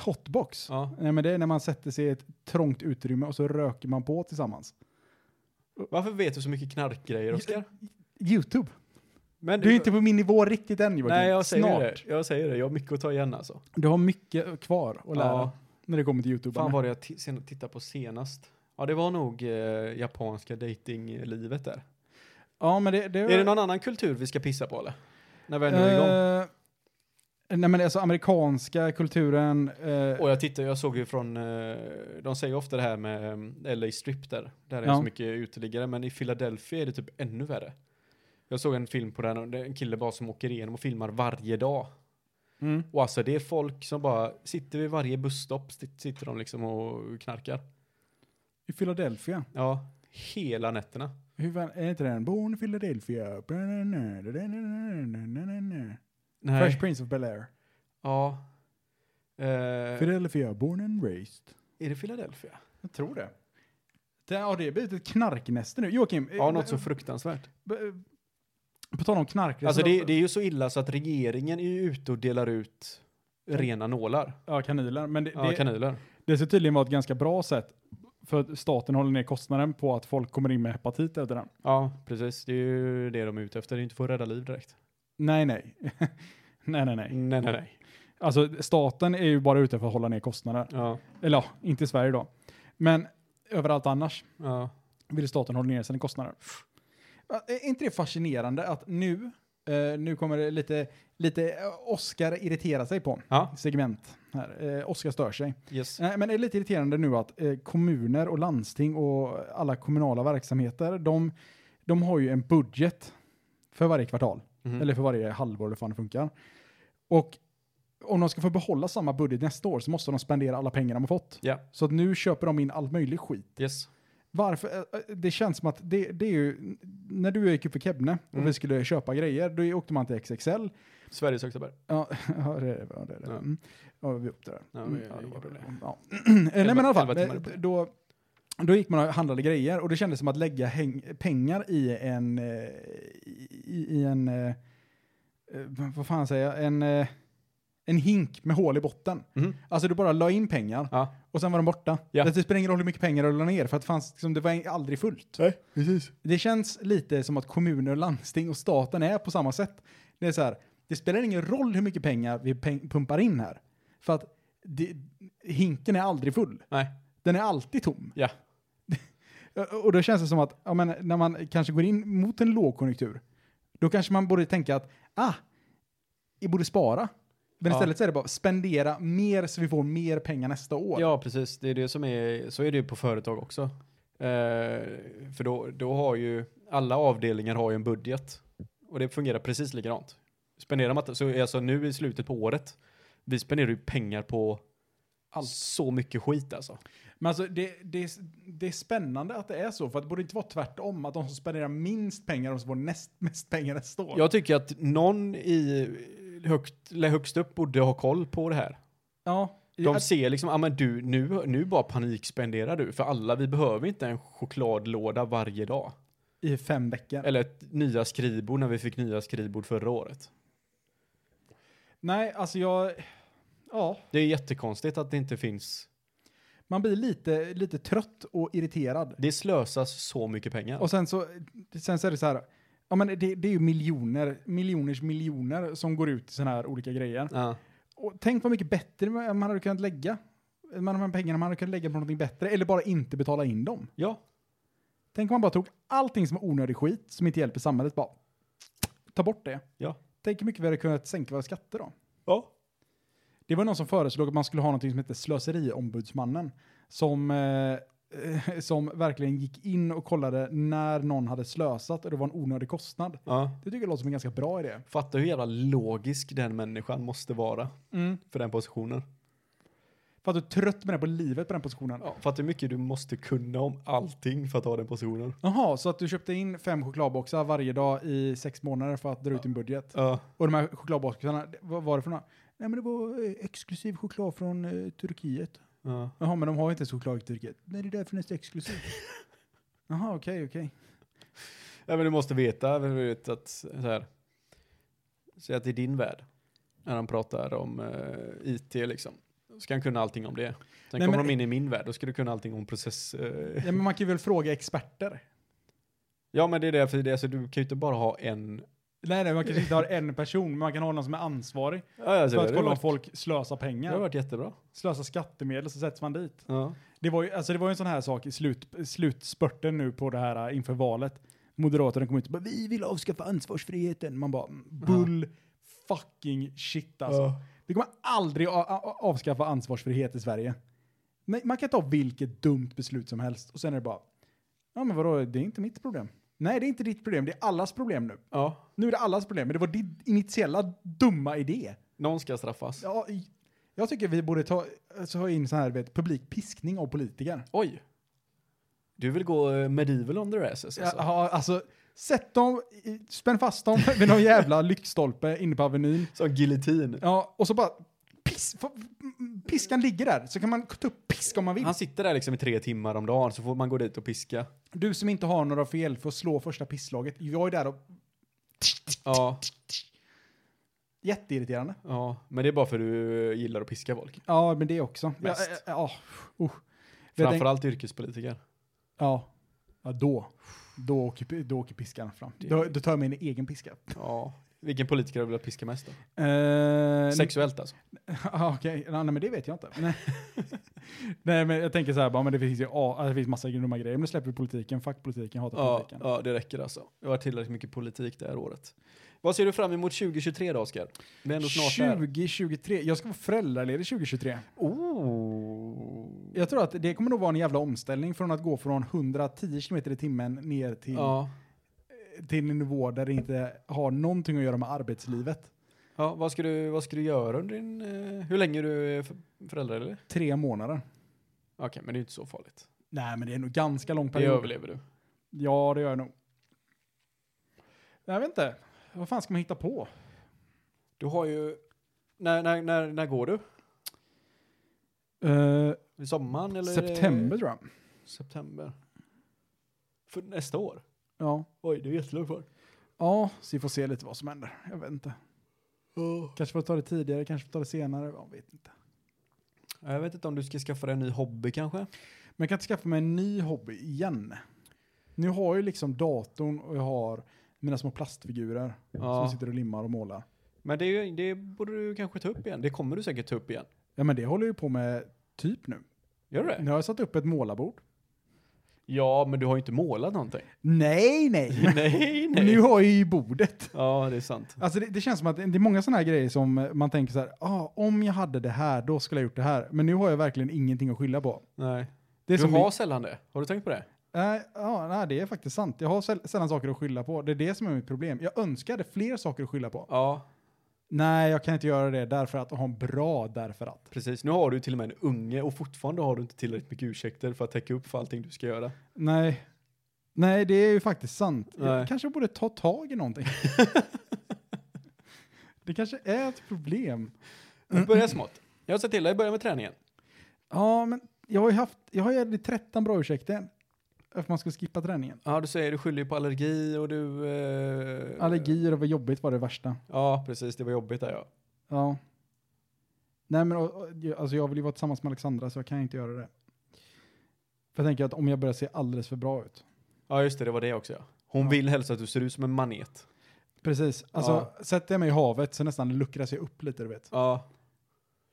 [SPEAKER 4] Hotbox?
[SPEAKER 3] Ja.
[SPEAKER 4] Nej men det är när man sätter sig i ett trångt utrymme och så röker man på tillsammans.
[SPEAKER 3] Varför vet du så mycket knarkgrejer, Oskar?
[SPEAKER 4] Youtube.
[SPEAKER 3] Men
[SPEAKER 4] Du är inte på min nivå riktigt än Joakim.
[SPEAKER 3] Nej, jag säger
[SPEAKER 4] Snart.
[SPEAKER 3] det. Jag säger det. Jag har mycket att ta igen alltså.
[SPEAKER 4] Du har mycket kvar att lära
[SPEAKER 3] Ja.
[SPEAKER 4] när det kommer till Youtube.
[SPEAKER 3] Fan var det jag t- sen- tittade på senast? Ja, det var nog eh, japanska datinglivet där.
[SPEAKER 4] Ja, men det, det
[SPEAKER 3] Är det någon annan kultur vi ska pissa på eller? När vi ändå är igång.
[SPEAKER 4] Eh, Nej men alltså amerikanska kulturen, eh,
[SPEAKER 3] Och jag tittade, jag såg ju från, eh, de säger ju ofta det här med eh, LA Strip där, där är
[SPEAKER 4] Ja.
[SPEAKER 3] så mycket uteliggare, men i Philadelphia är det typ ännu värre. Jag såg en film på den, och det är en kille bara som åker igenom och filmar varje dag.
[SPEAKER 4] mm.
[SPEAKER 3] Och alltså det är folk som bara sitter vid varje busstopp, sit- sitter de liksom och knarkar.
[SPEAKER 4] i Philadelphia.
[SPEAKER 3] Ja, hela nätterna.
[SPEAKER 4] Hur fan, är inte den? Born in Philadelphia. Fresh Prince of Bel-Air.
[SPEAKER 3] Ja. Eh,
[SPEAKER 4] Philadelphia, born and raised.
[SPEAKER 3] är det Philadelphia?
[SPEAKER 4] Jag tror det. Det har det blivit ett knarknäste nu. Joakim, eh,
[SPEAKER 3] Ja, något så
[SPEAKER 4] b-
[SPEAKER 3] fruktansvärt.
[SPEAKER 4] b- på tal om knark.
[SPEAKER 3] Alltså
[SPEAKER 4] så-
[SPEAKER 3] det, det är ju så illa så att regeringen är ju ute och delar ut rena nålar.
[SPEAKER 4] Ja, kaniler. Men det,
[SPEAKER 3] Ja,
[SPEAKER 4] det,
[SPEAKER 3] kanyler.
[SPEAKER 4] det ser tydligen vara ett ganska bra sätt för att staten håller ner kostnaden på att folk kommer in med hepatit efter den.
[SPEAKER 3] Ja, precis. Det är ju det de är ute efter. Det är inte för att rädda liv direkt.
[SPEAKER 4] Nej, nej. [LAUGHS] nej, nej, nej.
[SPEAKER 3] Nej, nej, nej.
[SPEAKER 4] Alltså staten är ju bara ute för att hålla ner kostnader.
[SPEAKER 3] Ja,
[SPEAKER 4] Eller ja, inte i Sverige då. Men överallt annars
[SPEAKER 3] ja.
[SPEAKER 4] vill staten hålla ner sina kostnader. Är inte det fascinerande att nu Eh, nu kommer det lite, lite eh, Oscar irriterar sig på.
[SPEAKER 3] Ja.
[SPEAKER 4] Segment här. Eh, Oscar stör sig.
[SPEAKER 3] Yes.
[SPEAKER 4] Nej, men det är lite irriterande nu att eh, kommuner och landsting och alla kommunala verksamheter, de, de har ju en budget för varje kvartal.
[SPEAKER 3] Mhm.
[SPEAKER 4] Eller för varje halvår eller hur fan det funkar. Och om de ska få behålla samma budget nästa år så måste de spendera alla pengar de har fått.
[SPEAKER 3] Ja.
[SPEAKER 4] Så att nu köper de in all möjlig skit.
[SPEAKER 3] Yes.
[SPEAKER 4] Varför? eh, eh, Det känns som att det, det är ju, när du och jag gick upp i Kebne
[SPEAKER 3] Mm.
[SPEAKER 4] och vi skulle köpa grejer, då åkte man till XXL.
[SPEAKER 3] Sveriges högsta berg.
[SPEAKER 4] Ja, [LAUGHS] ja, det är det. Ja, det, är det.
[SPEAKER 3] Ja.
[SPEAKER 4] Mm. ja vi åkte där.
[SPEAKER 3] Ja,
[SPEAKER 4] Mm,
[SPEAKER 3] det-
[SPEAKER 4] ja,
[SPEAKER 3] det
[SPEAKER 4] det var
[SPEAKER 3] går
[SPEAKER 4] det.
[SPEAKER 3] bra.
[SPEAKER 4] Ja. [CLEARS THROAT] Eh, Nej men i alla
[SPEAKER 3] elva
[SPEAKER 4] fall,
[SPEAKER 3] timmar
[SPEAKER 4] eh,
[SPEAKER 3] på det.
[SPEAKER 4] då, då gick man och handlade grejer och det kändes som att lägga häng, pengar i en, eh, i, i en, eh, eh, vad fan säger jag, en, eh, en hink med hål i botten.
[SPEAKER 3] Mhm.
[SPEAKER 4] Alltså du bara la in pengar
[SPEAKER 3] Ja.
[SPEAKER 4] och sen var de borta.
[SPEAKER 3] Ja.
[SPEAKER 4] Det typ spelar ingen roll hur mycket pengar du la ner för att det, fanns, liksom, det var aldrig fullt.
[SPEAKER 2] Nej, precis.
[SPEAKER 4] Det känns lite som att kommuner, landsting och staten är på samma sätt. Det är så här, det spelar ingen roll hur mycket pengar vi peng- pumpar in här. För att det, hinken är aldrig full.
[SPEAKER 3] Nej.
[SPEAKER 4] Den är alltid tom.
[SPEAKER 3] Ja.
[SPEAKER 4] [LAUGHS] Och då känns det som att ja, men, när man kanske går in mot en lågkonjunktur, då kanske man borde tänka att ah, vi borde spara. Men
[SPEAKER 3] Ja.
[SPEAKER 4] istället så är det bara spendera mer så vi får mer pengar nästa år.
[SPEAKER 3] Ja, precis. Det är det som är, så är det ju på företag också. Eh, för då, då har ju, alla avdelningar har ju en budget. Och det fungerar precis likadant. Spenderar man, inte- så är alltså nu i slutet på året, vi spenderar ju pengar på
[SPEAKER 4] Allt.
[SPEAKER 3] så mycket skit alltså.
[SPEAKER 4] Men alltså det, det, är- det är spännande att det är så, för att det borde inte vara tvärtom, att de som spenderar minst pengar, de som får näst mest pengar nästa år.
[SPEAKER 3] Jag tycker att någon i högt, eller högst upp borde ha koll på det här.
[SPEAKER 4] ja.
[SPEAKER 3] De ser liksom, ah, men du, nu, nu bara panikspenderar du, för alla, vi behöver inte en chokladlåda varje dag.
[SPEAKER 4] I fem veckor.
[SPEAKER 3] Eller ett nya skrivbord när vi fick nya skrivbord förra året.
[SPEAKER 4] Nej, alltså jag... Ja,
[SPEAKER 3] Det är jättekonstigt att det inte finns.
[SPEAKER 4] man blir lite, lite trött och irriterad.
[SPEAKER 3] Det slösas så mycket pengar.
[SPEAKER 4] Och sen så, sen så är det så här, ja men det, det är ju miljoner, miljoners miljoner som går ut till sådana här olika grejer.
[SPEAKER 3] ja.
[SPEAKER 4] Och tänk vad mycket bättre man hade kunnat lägga, man, de här pengarna man hade kunnat lägga på någonting bättre, eller bara inte betala in dem.
[SPEAKER 3] ja,
[SPEAKER 4] Tänk om man bara tog allting som är onödig skit som inte hjälper samhället, bara ta bort det.
[SPEAKER 3] Ja.
[SPEAKER 4] Tänk hur mycket vi hade kunnat sänka våra skatter då.
[SPEAKER 3] ja.
[SPEAKER 4] Det var någon som föreslog att man skulle ha någonting som heter slöseriombudsmannen. Som, eh, [LAUGHS] som verkligen gick in och kollade när någon hade slösat och det var en onödig kostnad.
[SPEAKER 3] ja.
[SPEAKER 4] Det tycker jag låter som en ganska bra idé.
[SPEAKER 3] Fatta hur jävla logisk den människan måste vara för den positionen.
[SPEAKER 4] För att du är trött med det på livet på den positionen.
[SPEAKER 3] Ja. Fatta hur mycket du måste kunna om allting för att ha den positionen.
[SPEAKER 4] Jaha, så att du köpte in fem chokladboxar varje dag i sex månader för att dra ut din budget.
[SPEAKER 3] Ja.
[SPEAKER 4] Och de här chokladboxarna, det- vad var det för några? Nej men det var eh, exklusiv choklad från eh, Turkiet.
[SPEAKER 3] Ja.
[SPEAKER 4] Jaha, men de har ju inte ens choklad i Turkiet. Nej, det är därför den är så exklusiv.
[SPEAKER 3] [LAUGHS]
[SPEAKER 4] Jaha, okej, okej.
[SPEAKER 3] ja, men du måste veta du vet, att så här. Säg att i din värld, när han pratar om eh, IT liksom, ska han kunna allting om det. Sen
[SPEAKER 4] Nej,
[SPEAKER 3] kommer
[SPEAKER 4] men-
[SPEAKER 3] de in i min värld, då ska du kunna allting om process. eh,
[SPEAKER 4] Ja, men man kan ju väl fråga experter?
[SPEAKER 3] [LAUGHS] Ja, men det är därför det, är- alltså, du kan ju inte bara ha en...
[SPEAKER 4] Nej, nej, man kanske inte har en person, men man kan ha någon som är ansvarig
[SPEAKER 3] Ja, alltså,
[SPEAKER 4] för att
[SPEAKER 3] det hade
[SPEAKER 4] kolla om
[SPEAKER 3] varit-
[SPEAKER 4] folk slösar
[SPEAKER 3] Det har
[SPEAKER 4] pengar.
[SPEAKER 3] varit jättebra.
[SPEAKER 4] Slösar skattemedel så sätts man dit.
[SPEAKER 3] Ja.
[SPEAKER 4] Det var ju, alltså det var ju en sån här sak i slut, slutspurten nu på det här eh, inför valet. Moderaterna kom ut och bara vi vill avskaffa ansvarsfriheten. Man bara "Mm, bull fucking shit alltså. Vi kommer aldrig a- a- avskaffa ansvarsfrihet i Sverige. Nej, man kan ta vilket dumt beslut som helst och sen är det bara, ja men vadå, det är inte mitt problem. Nej, det är inte ditt problem, det är allas problem nu.
[SPEAKER 3] ja.
[SPEAKER 4] Nu är det allas problem, men det var din initiella dumma idé.
[SPEAKER 3] Någon ska straffas.
[SPEAKER 4] Ja, i- jag tycker vi borde ta, alltså, ha in så här, vet, publik piskning av politiker.
[SPEAKER 3] Oj. Du vill gå eh, medieval on their asses alltså?
[SPEAKER 4] Ja, alltså, sätt dem, i- spänn fast dem [LAUGHS] vid någon jävla lyktstolpe inne på Avenyn.
[SPEAKER 3] Som giljotin.
[SPEAKER 4] Ja, och så bara, pis, piskan ligger där, så kan man ta upp pisk om man vill.
[SPEAKER 3] Han sitter där liksom i tre timmar om dagen så får man gå dit och piska.
[SPEAKER 4] Du som inte har några fel får slå första pisslaget. Jag är där och...
[SPEAKER 3] Ja,
[SPEAKER 4] Jätteirriterande.
[SPEAKER 3] ja. men det är bara för du eh, gillar att piska folk.
[SPEAKER 4] Ja, men det också. Ja,
[SPEAKER 3] Mest.
[SPEAKER 4] ja, ja, usch. Jag tänk-
[SPEAKER 3] Framförallt yrkespolitiker.
[SPEAKER 4] Ja. ja, då. Då åker, då åker piskan fram. Då, då tar jag min egen piska.
[SPEAKER 3] Ja, Vilken politiker har du velat piska mest då?
[SPEAKER 4] Eh,
[SPEAKER 3] Sexuellt alltså?
[SPEAKER 4] [LAUGHS] Ja, Okej, Ja, nej men det vet jag inte. Nej, [LAUGHS] nej men jag tänker så här bara, men det finns ju ja, det finns massa grymma grejer. Men nu släpper vi politiken, fuck politiken, hatar
[SPEAKER 3] Ja,
[SPEAKER 4] politiken.
[SPEAKER 3] ja, det räcker alltså. Det har varit tillräckligt mycket politik det här året. Vad ser du fram emot 2023 då, Oskar? Vi är ändå snart där.
[SPEAKER 4] 2023, jag ska vara föräldraledig 2023.
[SPEAKER 3] Oh.
[SPEAKER 4] Jag tror att det kommer nog vara en jävla omställning från att gå från 110 km i timmen ner till,
[SPEAKER 3] Ja.
[SPEAKER 4] till en nivå där det inte har någonting att göra med arbetslivet.
[SPEAKER 3] ja vad, ska du, vad ska du göra under din... Eh, hur länge är du f- förälder eller?
[SPEAKER 4] Tre månader.
[SPEAKER 3] Okej, men det är inte så farligt.
[SPEAKER 4] Nej men det är nog ganska lång
[SPEAKER 3] Det
[SPEAKER 4] period.
[SPEAKER 3] överlever du.
[SPEAKER 4] Ja det gör jag nog. Jag vet inte. Vad fan ska man hitta på?
[SPEAKER 3] Du har ju... När, när, när, när går du?
[SPEAKER 4] Eh,
[SPEAKER 3] I sommaren eller? är det-
[SPEAKER 4] September tror jag.
[SPEAKER 3] September. För nästa år?
[SPEAKER 4] Ja.
[SPEAKER 3] Oj, det är jättelångt kvar.
[SPEAKER 4] ja, så vi får se lite vad som händer. Jag vet inte. Kanske får jag ta det tidigare, kanske får jag ta det senare. Jag vet inte.
[SPEAKER 3] Jag vet inte om du ska skaffa dig en ny hobby kanske?
[SPEAKER 4] Men jag kan inte skaffa mig en ny hobby igen. Nu har jag ju liksom datorn och jag har mina små plastfigurer som
[SPEAKER 3] Ja.
[SPEAKER 4] sitter och limmar och målar.
[SPEAKER 3] Men det, är ju- det borde du kanske ta upp igen. Det kommer du säkert ta upp igen.
[SPEAKER 4] Ja men det håller jag ju på med typ nu.
[SPEAKER 3] Gör du det?
[SPEAKER 4] Nu har jag satt upp ett målarbord.
[SPEAKER 3] Ja, men du har ju inte målat någonting.
[SPEAKER 4] Nej, nej.
[SPEAKER 3] [LAUGHS]
[SPEAKER 4] [LAUGHS]
[SPEAKER 3] nej,
[SPEAKER 4] nu har jag ju bordet.
[SPEAKER 3] Ja, det är sant.
[SPEAKER 4] Alltså det, det känns som att det är många sådana här grejer som man tänker så här, ah, om jag hade det här då skulle jag gjort det här. Men nu har jag verkligen ingenting att skylla på.
[SPEAKER 3] Nej.
[SPEAKER 4] Det är
[SPEAKER 3] du
[SPEAKER 4] som
[SPEAKER 3] har sällan det. Har du tänkt på det?
[SPEAKER 4] Nej, ja, nej, det är faktiskt sant. Jag har säll- sällan saker att skylla på. Det är det som är mitt problem. Jag önskade fler saker att skylla på.
[SPEAKER 3] Ja,
[SPEAKER 4] Nej, jag kan inte göra det därför att och ha en bra därför att.
[SPEAKER 3] precis. Nu har du till och med en unge och fortfarande har du inte tillräckligt mycket ursäkter för att täcka upp för allting du ska göra.
[SPEAKER 4] Nej, nej det är ju faktiskt sant.
[SPEAKER 3] Nej.
[SPEAKER 4] Jag kanske borde ta tag i någonting. det kanske är ett problem.
[SPEAKER 3] Börja smått. Jag sa till dig, börja med träningen.
[SPEAKER 4] Ja, men jag har ju haft, jag har ju haft 13 bra ursäkter. Att man ska skippa träningen.
[SPEAKER 3] Ja, du säger du skyller ju på allergi och du... Eh...
[SPEAKER 4] Allergier och vad jobbigt var det värsta.
[SPEAKER 3] Ja, precis. Det var jobbigt där ja.
[SPEAKER 4] Ja. Nej men och- och, ju- alltså jag vill ju vara tillsammans med Alexandra så jag kan inte göra det. För jag tänker att om jag börjar se alldeles för bra ut.
[SPEAKER 3] Ja, just det. Det var det också ja. Hon
[SPEAKER 4] Ja.
[SPEAKER 3] vill helst att du ser ut som en manet.
[SPEAKER 4] Precis, alltså sätter jag mig i havet så nästan luckras jag upp lite du vet.
[SPEAKER 3] Ja.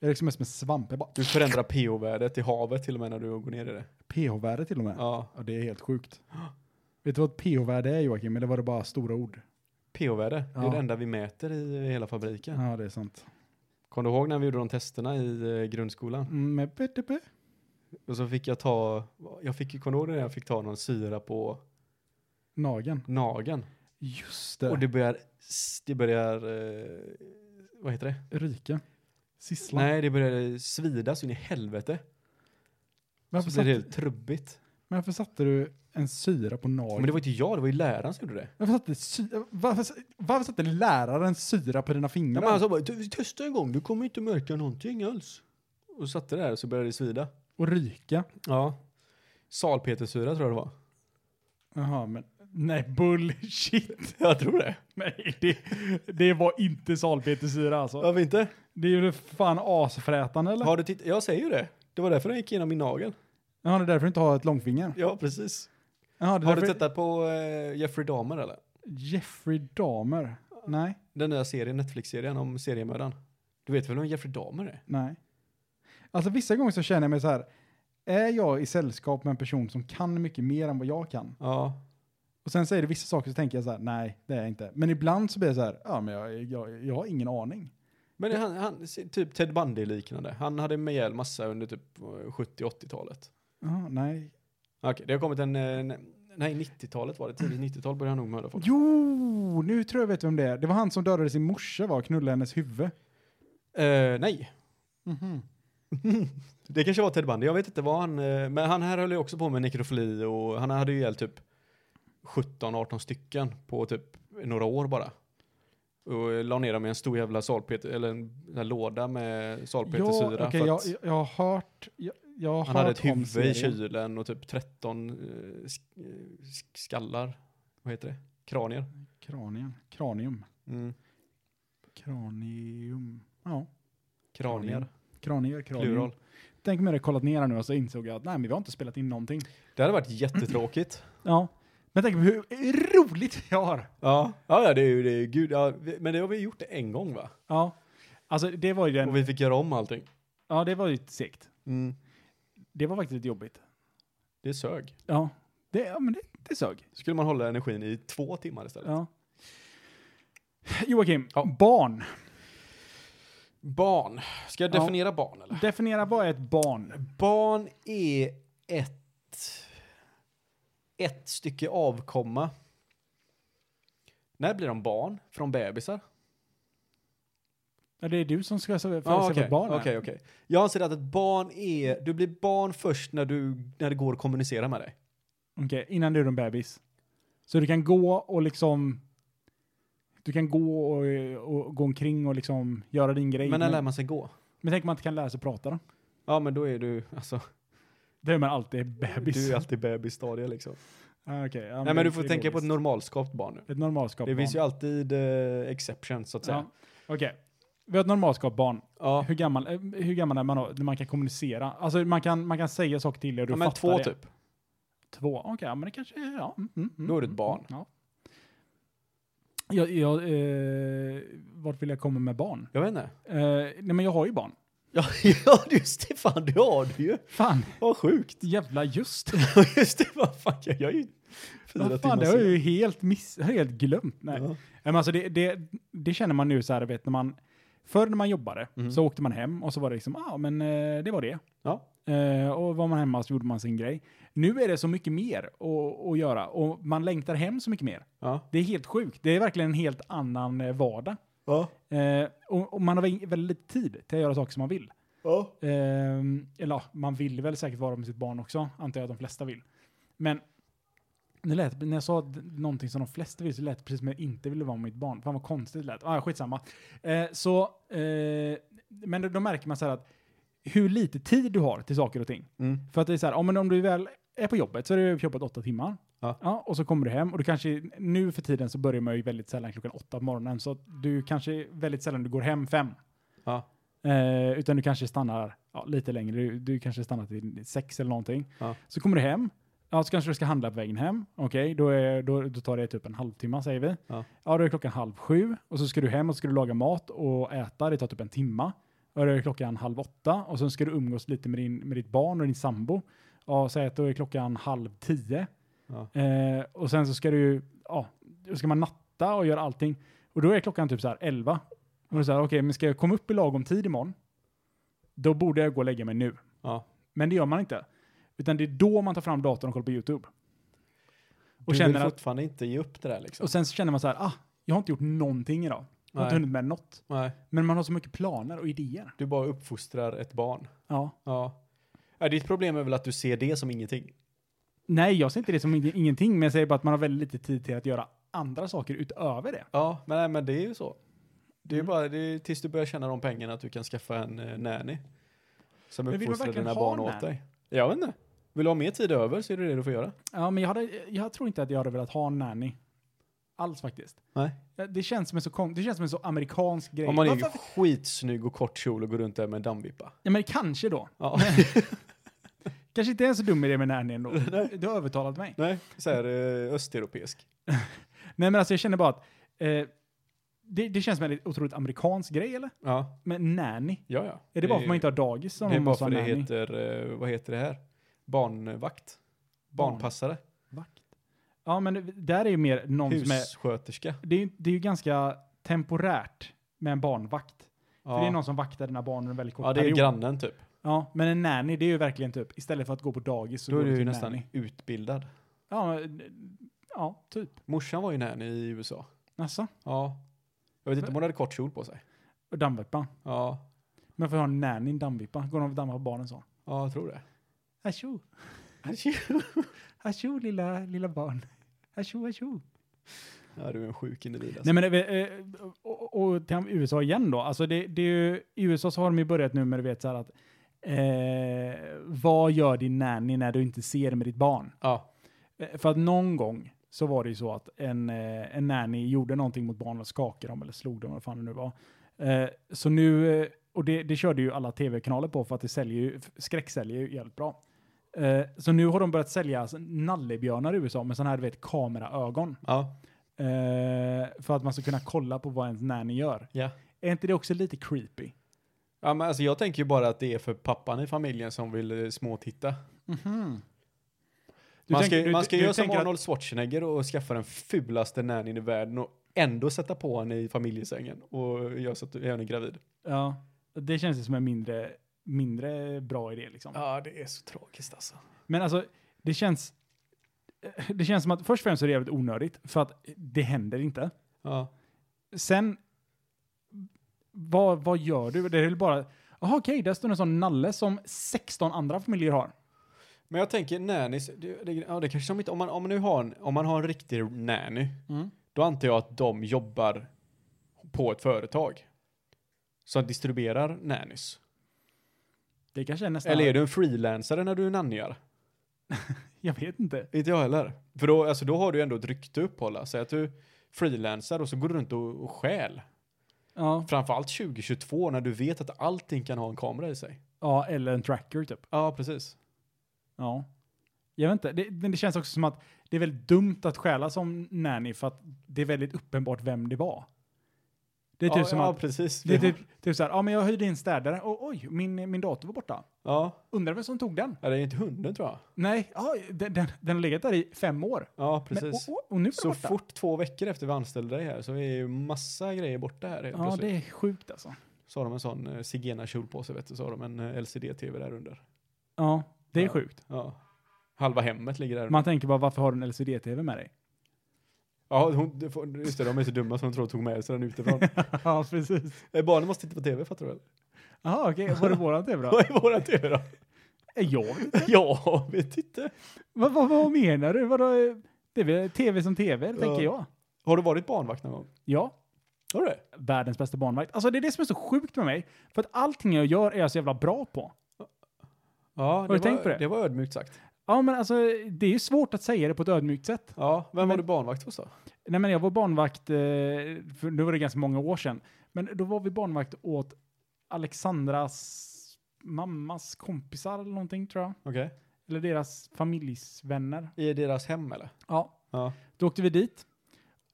[SPEAKER 4] Jag är liksom som en svamp, jag bara
[SPEAKER 3] Du förändrar pH-värdet i havet till och med när du går ner i det.
[SPEAKER 4] pH-värde till och med. Ja.
[SPEAKER 3] Ja.
[SPEAKER 4] det är helt sjukt. Vet du vad ett pH-värde är Joakim, eller var det bara stora ord?
[SPEAKER 3] pH-värde, det
[SPEAKER 4] Ja.
[SPEAKER 3] är det enda vi mäter i hela fabriken.
[SPEAKER 4] Ja, det är sant.
[SPEAKER 3] Kommer du ihåg när vi gjorde de testerna i eh, grundskolan?
[SPEAKER 4] Mm, men PTP.
[SPEAKER 3] Och så fick jag ta, jag fick ju, kommer du ihåg när jag fick ta någon syra på
[SPEAKER 4] Nagen.
[SPEAKER 3] nageln?
[SPEAKER 4] Just det.
[SPEAKER 3] Och det börjar, s- det börjar, eh, vad heter det?
[SPEAKER 4] Rike. Sisslan.
[SPEAKER 3] Nej, det börjar svida så in i helvete.
[SPEAKER 4] varför,
[SPEAKER 3] Så blir
[SPEAKER 4] satt,
[SPEAKER 3] det helt trubbigt.
[SPEAKER 4] men varför satte du en syra på nageln?
[SPEAKER 3] Men det var inte jag, det var ju läraren som gjorde det.
[SPEAKER 4] Varför satte, sy- varför, varför satte läraren syra på dina
[SPEAKER 3] Ja,
[SPEAKER 4] fingrar?
[SPEAKER 3] men alltså- han sa bara, "Du- testa en gång, du kommer inte märka någonting alls. Och satte det där och så började det svida.
[SPEAKER 4] Och ryka?
[SPEAKER 3] Ja. Salpetersyra tror jag det var.
[SPEAKER 4] Jaha, men nej bullshit.
[SPEAKER 3] [LAUGHS]
[SPEAKER 4] [LAUGHS]
[SPEAKER 3] Jag tror det.
[SPEAKER 4] Nej, det, det var inte salpetersyra alltså.
[SPEAKER 3] Varför inte?
[SPEAKER 4] Det är ju fan asfrätande eller?
[SPEAKER 3] Har du titt- jag säger ju det. Det var därför den gick igenom min nagel.
[SPEAKER 4] Jaha, det är därför du inte har ett långfinger.
[SPEAKER 3] Ja, precis.
[SPEAKER 4] Jaha, det är
[SPEAKER 3] Har du
[SPEAKER 4] därför...
[SPEAKER 3] tittat på eh, Jeffrey Dahmer eller?
[SPEAKER 4] Jeffrey Dahmer? Nej,
[SPEAKER 3] Den nya serien, Netflix-serien om seriemördaren. Du vet väl vem Jeffrey Dahmer är?
[SPEAKER 4] nej. Alltså vissa gånger så känner jag mig så här. Är jag i sällskap med en person som kan mycket mer än vad jag kan?
[SPEAKER 3] Ja.
[SPEAKER 4] Och sen säger det vissa saker så tänker jag så här, nej, det är jag inte. Men ibland så blir jag så här, ja men jag, jag, jag har ingen aning.
[SPEAKER 3] Men han, han typ Ted Bundy-liknande. Han hade med ihjäl massa under typ eh, 70-80-talet.
[SPEAKER 4] Jaha, nej,
[SPEAKER 3] Okej, det har kommit en... eh, en- Nej, 90-talet var det. Tidigt 90-tal började han nog mörda folk.
[SPEAKER 4] Jo, nu tror jag vet vem det är. Det var han som dödade sin morsa var och knullade hennes huvud.
[SPEAKER 3] Eh, nej. Det kanske var Ted Bundy, jag vet inte vad han... eh, Men han här höll ju också på med nekrofili och han hade ju ihjäl typ 17-18 stycken på typ några år bara. Och eh, la ner dem i en stor jävla salpeter, eller en sån här låda med salpetersyra.
[SPEAKER 4] Ja, okej,
[SPEAKER 3] för
[SPEAKER 4] jag,
[SPEAKER 3] att
[SPEAKER 4] jag, jag har hört... Jag, jag har
[SPEAKER 3] han
[SPEAKER 4] hört
[SPEAKER 3] hade ett
[SPEAKER 4] om
[SPEAKER 3] huvud i
[SPEAKER 4] serien.
[SPEAKER 3] kylen och typ 13 eh, sk- eh, sk- skallar, vad heter det? Kranier.
[SPEAKER 4] Kranium. Kranium.
[SPEAKER 3] Mm.
[SPEAKER 4] Kranium. Ja.
[SPEAKER 3] Kranier,
[SPEAKER 4] Kranier, kranium.
[SPEAKER 3] plural.
[SPEAKER 4] Tänk om jag hade kollat ner här nu och så insåg jag att nej, men vi har inte spelat in någonting.
[SPEAKER 3] Det hade varit jättetråkigt.
[SPEAKER 4] Ja. Men tänk på hur roligt jag har.
[SPEAKER 3] Ja, ja, ja, det är ju det. Är, ju- gud, ja, vi, men det har vi gjort en gång va?
[SPEAKER 4] Ja. Alltså det var ju
[SPEAKER 3] Och
[SPEAKER 4] den,
[SPEAKER 3] vi fick göra om allting.
[SPEAKER 4] ja det var ju segt.
[SPEAKER 3] Mm.
[SPEAKER 4] Det var faktiskt lite jobbigt.
[SPEAKER 3] Det sög.
[SPEAKER 4] Ja, det, ja men det, det sög.
[SPEAKER 3] Skulle man hålla energin i två timmar istället.
[SPEAKER 4] Ja. Joakim,
[SPEAKER 3] Ja.
[SPEAKER 4] barn.
[SPEAKER 3] Barn. Ska jag
[SPEAKER 4] Ja.
[SPEAKER 3] definiera barn eller?
[SPEAKER 4] Definiera vad är ett barn?
[SPEAKER 3] Barn är ett, ett stycke avkomma. När blir de barn? Från bebisar?
[SPEAKER 4] Ja, det är du som ska säga
[SPEAKER 3] Ja,
[SPEAKER 4] ah,
[SPEAKER 3] okej.
[SPEAKER 4] okay. barn är.
[SPEAKER 3] Okej, okej. Jag anser att ett barn är, du blir barn först när, du, när det går att kommunicera med dig.
[SPEAKER 4] Okej, innan du är en bebis. Så du kan gå och liksom... Du kan gå och, och gå omkring och liksom göra din grej.
[SPEAKER 3] Men när lär man sig gå?
[SPEAKER 4] men tänk om man inte kan lära sig prata då?
[SPEAKER 3] Ja, men då är du, alltså,
[SPEAKER 4] Då är man alltid bebis.
[SPEAKER 3] du är alltid bebisstadie liksom.
[SPEAKER 4] Ah, okej. Ja,
[SPEAKER 3] Nej, men
[SPEAKER 4] det-
[SPEAKER 3] du får
[SPEAKER 4] det är
[SPEAKER 3] tänka på ett
[SPEAKER 4] logiskt.
[SPEAKER 3] normalskapt barn nu.
[SPEAKER 4] Ett normalskap
[SPEAKER 3] Det
[SPEAKER 4] barn.
[SPEAKER 3] finns ju alltid eh, exceptions så att säga.
[SPEAKER 4] Ja. Okej. Vi har ett normalskap barn.
[SPEAKER 3] Ja,
[SPEAKER 4] Hur, gammal, eh, hur gammal är man då? När man kan kommunicera? Alltså man kan, man kan säga saker till dig och du
[SPEAKER 3] ja men
[SPEAKER 4] fattar
[SPEAKER 3] två
[SPEAKER 4] det.
[SPEAKER 3] typ.
[SPEAKER 4] Två, okej. ja, men det kanske är... Ja. Mm, mm, mm,
[SPEAKER 3] Då är du ett
[SPEAKER 4] mm,
[SPEAKER 3] barn.
[SPEAKER 4] Ja. Jag, jag, eh, vart vill jag komma med barn?
[SPEAKER 3] Jag vet inte.
[SPEAKER 4] Eh, nej men jag har ju barn.
[SPEAKER 3] Ja, [LAUGHS] ja just det, fan det har du ju.
[SPEAKER 4] Fan,
[SPEAKER 3] Vad sjukt.
[SPEAKER 4] jävla just.
[SPEAKER 3] Just det, vad fan, jag jag är ju fyra
[SPEAKER 4] Vad fan,
[SPEAKER 3] timmar
[SPEAKER 4] det har jag
[SPEAKER 3] sen.
[SPEAKER 4] ju helt, miss, helt glömt. Nej.
[SPEAKER 3] Ja.
[SPEAKER 4] Nej, Men alltså det, det, det känner man nu så här, vet när man, förr när man jobbade
[SPEAKER 3] Mm.
[SPEAKER 4] så åkte man hem och så var det liksom, ja ah, men eh, det var det.
[SPEAKER 3] Ja.
[SPEAKER 4] Eh, och var man hemma så gjorde man sin grej. Nu är det så mycket mer att, att göra och man längtar hem så mycket mer.
[SPEAKER 3] Ja.
[SPEAKER 4] Det är helt sjukt. Det är verkligen en helt annan eh, vardag.
[SPEAKER 3] Ja.
[SPEAKER 4] Eh, och, och man har väl- väldigt lite tid till att göra saker som man vill.
[SPEAKER 3] Ja.
[SPEAKER 4] Ehm, eller ja, man vill väl säkert vara med sitt barn också, antar jag att de flesta vill. Men det lät, när jag sa d- någonting som de flesta vill så lät det precis som jag inte ville vara med mitt barn. Fan vad konstigt det lät. Ah, skitsamma. Eh, så, eh, men då, då märker man så här att hur lite tid du har till saker och ting.
[SPEAKER 3] Mm.
[SPEAKER 4] För att det är så här, ja, men om du väl är på jobbet så är du på jobbet åtta timmar.
[SPEAKER 3] Ja.
[SPEAKER 4] och så kommer du hem och du kanske, nu för tiden så börjar man ju väldigt sällan klockan åtta på morgonen. Så att du kanske väldigt sällan du går hem fem.
[SPEAKER 3] Ja.
[SPEAKER 4] Eh, utan du kanske stannar ja, lite längre, du, du kanske stannar till sex eller någonting.
[SPEAKER 3] Ja.
[SPEAKER 4] Så kommer du hem, ja, så kanske du ska handla på vägen hem. Okej, då, är- då, då tar det typ en halvtimme säger vi.
[SPEAKER 3] Ja.
[SPEAKER 4] då är klockan halv sju och så ska du hem och så ska du laga mat och äta, det tar typ en timma. Och då är klockan halv åtta och sen ska du umgås lite med, din, med ditt barn och din sambo. Ja, säg att då är klockan halv tio.
[SPEAKER 3] Ja.
[SPEAKER 4] Eh, och sen så ska du ju, ja, då ska man natta och göra allting. Och då är klockan typ så här 11. Och då är det så här, okej, men ska jag komma upp i lagom tid imorgon, då borde jag gå och lägga mig nu.
[SPEAKER 3] Ja.
[SPEAKER 4] Men det gör man inte. Utan det är då man tar fram datorn och kollar på YouTube.
[SPEAKER 3] Du
[SPEAKER 4] Och,
[SPEAKER 3] vill
[SPEAKER 4] känner att,
[SPEAKER 3] fortfarande inte ge upp det där liksom.
[SPEAKER 4] och sen så känner man så här, ah, jag har inte gjort någonting idag. Jag har inte
[SPEAKER 3] Nej.
[SPEAKER 4] hunnit med något.
[SPEAKER 3] Nej,
[SPEAKER 4] Men man har så mycket planer och idéer.
[SPEAKER 3] du bara uppfostrar ett barn.
[SPEAKER 4] Ja.
[SPEAKER 3] Ja. ja. Ditt problem är väl att du ser det som ingenting.
[SPEAKER 4] Nej, jag ser inte det som ing- ingenting, men jag säger bara att man har väldigt lite tid till att göra andra saker utöver det.
[SPEAKER 3] Ja, men, nej, men det är ju så. Det är ju bara det är, tills du börjar tjäna de pengarna att du kan skaffa en eh, nanny. Som
[SPEAKER 4] Men vill man
[SPEAKER 3] uppfostrar
[SPEAKER 4] verkligen
[SPEAKER 3] dina
[SPEAKER 4] ha
[SPEAKER 3] barn
[SPEAKER 4] en
[SPEAKER 3] åt
[SPEAKER 4] nanny?
[SPEAKER 3] dig. Jag vet inte. Vill du ha mer tid över så är det det du får göra.
[SPEAKER 4] Ja, men jag, hade, jag tror inte att jag hade velat ha en nanny. Alls faktiskt.
[SPEAKER 3] Nej.
[SPEAKER 4] Ja, Det känns som en så, kon- det känns som en så amerikansk grej.
[SPEAKER 3] Om man är
[SPEAKER 4] Varför-
[SPEAKER 3] skitsnygg och kort kjol och går runt där med en dammvippa.
[SPEAKER 4] Ja, men kanske då.
[SPEAKER 3] [LAUGHS] Ja.
[SPEAKER 4] Kanske inte är en så dum idé med nanny
[SPEAKER 3] [LAUGHS]
[SPEAKER 4] ändå. Du har övertalat mig.
[SPEAKER 3] Nej, så här eh, östeuropeisk.
[SPEAKER 4] Nej, men alltså jag känner bara att eh, det, det känns som en otroligt amerikansk grej, eller?
[SPEAKER 3] Ja,
[SPEAKER 4] Men nanny?
[SPEAKER 3] ja, ja.
[SPEAKER 4] Är det, bara för att man inte har dagis som
[SPEAKER 3] Det är
[SPEAKER 4] man
[SPEAKER 3] bara
[SPEAKER 4] måste
[SPEAKER 3] för
[SPEAKER 4] ha
[SPEAKER 3] det
[SPEAKER 4] nanny?
[SPEAKER 3] heter, eh, vad heter det här? Barnvakt? Barnpassare?
[SPEAKER 4] Ja, men det- där är ju mer någon som är...
[SPEAKER 3] Hussköterska?
[SPEAKER 4] Det är, ju- det är ju ganska temporärt med en barnvakt. För det är
[SPEAKER 3] Ja.
[SPEAKER 4] någon som vaktar dina barn under en väldigt kort
[SPEAKER 3] ja, det är
[SPEAKER 4] period.
[SPEAKER 3] grannen typ.
[SPEAKER 4] Ja, men en nanny, det är ju verkligen typ, istället för att gå på dagis så
[SPEAKER 3] Då
[SPEAKER 4] går
[SPEAKER 3] är du ju
[SPEAKER 4] till
[SPEAKER 3] nästan
[SPEAKER 4] nanny.
[SPEAKER 3] utbildad.
[SPEAKER 4] Ja, men- ja, typ.
[SPEAKER 3] Morsan var ju nanny i USA.
[SPEAKER 4] Alltså,
[SPEAKER 3] Ja. Jag vet inte om hon hade kort kjol på sig.
[SPEAKER 4] och dammvippa.
[SPEAKER 3] Ja,
[SPEAKER 4] Men för att ha en nanny i en dammvippa, går de och dammar på barnen så.
[SPEAKER 3] ja jag tror det.
[SPEAKER 4] Atjo, atjo lilla, lilla barn. [LAUGHS] Atjo, atjo.
[SPEAKER 3] Ja, du är en sjuk individ alltså.
[SPEAKER 4] Nej men, eh, eh, och, och, och till USA igen då. Alltså det, det är ju, i USA så har de ju börjat nu med du vet så här att, eh, vad gör din nanny när du inte ser med ditt barn?
[SPEAKER 3] Ja,
[SPEAKER 4] Eh, För att någon gång så var det ju så att en, eh, en nanny gjorde någonting mot barnen, skakade dem eller slog dem, vad fan det nu var. Eh, Så nu, eh, och det, det körde ju alla tv-kanaler på för att det säljer ju, skräcksäljer ju jävligt bra. Eh, så nu har de börjat sälja nallebjörnar i USA med sådana här du vet, kameraögon.
[SPEAKER 3] Ja.
[SPEAKER 4] Eh, för att man ska kunna kolla på vad ens nanny gör.
[SPEAKER 3] ja.
[SPEAKER 4] Är inte det också lite creepy?
[SPEAKER 3] Ja, men alltså jag tänker ju bara att det är för pappan i familjen som vill eh, småtitta.
[SPEAKER 4] Du
[SPEAKER 3] Mhm. Man ska,
[SPEAKER 4] tänker- du-
[SPEAKER 3] man ska
[SPEAKER 4] du- du
[SPEAKER 3] göra som
[SPEAKER 4] tänker att-
[SPEAKER 3] Arnold Schwarzenegger och skaffa den fulaste nannyn i världen och ändå sätta på henne i familjesängen och göra så att du är henne gravid.
[SPEAKER 4] Ja, det känns ju som en mindre, mindre bra idé liksom.
[SPEAKER 3] Ja, det är så tragiskt alltså.
[SPEAKER 4] Men alltså, det känns... Det känns som att först och främst är det jävligt onödigt, för att det händer inte.
[SPEAKER 3] Ja.
[SPEAKER 4] Sen, vad, vad gör du? Det är väl bara, jaha okej, där står en sån nalle som 16 andra familjer har.
[SPEAKER 3] Men jag tänker nannies, det, det, ja, det kanske de inte, om man, om, man nu har en, om man har en riktig nanny, då antar jag att de jobbar på ett företag som distribuerar nannies.
[SPEAKER 4] Det kanske är nästan...
[SPEAKER 3] Eller är du en freelancer när du är nannyar?
[SPEAKER 4] Jag vet inte.
[SPEAKER 3] Inte jag heller. För då, alltså, då har du ändå ett rykte att upphålla. Säg att du freelancer och så går du runt och, och stjäl.
[SPEAKER 4] Ja.
[SPEAKER 3] Framförallt 2022 när du vet att allting kan ha en kamera i sig.
[SPEAKER 4] ja, eller en tracker typ.
[SPEAKER 3] Ja, precis.
[SPEAKER 4] Ja. Jag vet inte, det, men det känns också som att det är väldigt dumt att stjäla som nanny för att det är väldigt uppenbart vem det var. Det är typ
[SPEAKER 3] ja,
[SPEAKER 4] som
[SPEAKER 3] ja,
[SPEAKER 4] att,
[SPEAKER 3] precis.
[SPEAKER 4] det är typ, typ såhär, ja men jag hyrde in städare och oj, min, min dator var borta.
[SPEAKER 3] Ja,
[SPEAKER 4] Undrar vem som tog den?
[SPEAKER 3] Ja, det är inte hunden tror jag.
[SPEAKER 4] Nej, ja, den, den, den har legat där i fem år.
[SPEAKER 3] Ja,
[SPEAKER 4] Men,
[SPEAKER 3] precis.
[SPEAKER 4] och, och, och nu är den
[SPEAKER 3] Så
[SPEAKER 4] borta.
[SPEAKER 3] fort två veckor efter vi anställde dig här så är ju massa grejer borta här helt
[SPEAKER 4] Ja,
[SPEAKER 3] plötsligt.
[SPEAKER 4] det är sjukt alltså.
[SPEAKER 3] Så har de en sån eh, zigenarkjol på sig vet du, så har de en eh, LCD-TV där under.
[SPEAKER 4] Ja, det är
[SPEAKER 3] Ja.
[SPEAKER 4] sjukt.
[SPEAKER 3] Ja. Halva hemmet ligger där. under.
[SPEAKER 4] Man tänker bara, varför har du en LCD-TV med
[SPEAKER 3] [LAUGHS]
[SPEAKER 4] dig?
[SPEAKER 3] Ja, hon, det får- just det, de är så dumma som de tror tog med sig den
[SPEAKER 4] [LAUGHS]
[SPEAKER 3] utifrån.
[SPEAKER 4] ja, precis.
[SPEAKER 3] Eh, Barnen måste titta på TV fattar du väl?
[SPEAKER 4] Jaha, okej. Var det våran
[SPEAKER 3] [LAUGHS]
[SPEAKER 4] TV då?
[SPEAKER 3] Vad är våran
[SPEAKER 4] [LAUGHS]
[SPEAKER 3] TV då?
[SPEAKER 4] Eh, Jag
[SPEAKER 3] ja, vet inte.
[SPEAKER 4] Vad, vad, vad menar du? Vadå? eh, Det är väl tv som tv, tänker jag.
[SPEAKER 3] Har du varit barnvakt någon gång?
[SPEAKER 4] Ja,
[SPEAKER 3] Har du det?
[SPEAKER 4] världens bästa barnvakt. Alltså det är det som är så sjukt med mig. För att allting jag gör är jag så jävla bra på.
[SPEAKER 3] Ja, har
[SPEAKER 4] du tänkt på det?
[SPEAKER 3] Det var ödmjukt sagt.
[SPEAKER 4] Ja men alltså det är ju svårt att säga det på ett ödmjukt sätt.
[SPEAKER 3] Ja, vem var
[SPEAKER 4] Men-
[SPEAKER 3] du barnvakt hos då?
[SPEAKER 4] Nej men jag var barnvakt, eh, för nu var det ganska många år sedan. Men då var vi barnvakt åt Alexandras mammas kompisar eller någonting tror jag.
[SPEAKER 3] Okej.
[SPEAKER 4] Eller deras familjsvänner.
[SPEAKER 3] I deras hem eller?
[SPEAKER 4] Ja,
[SPEAKER 3] Ja.
[SPEAKER 4] Då åkte vi dit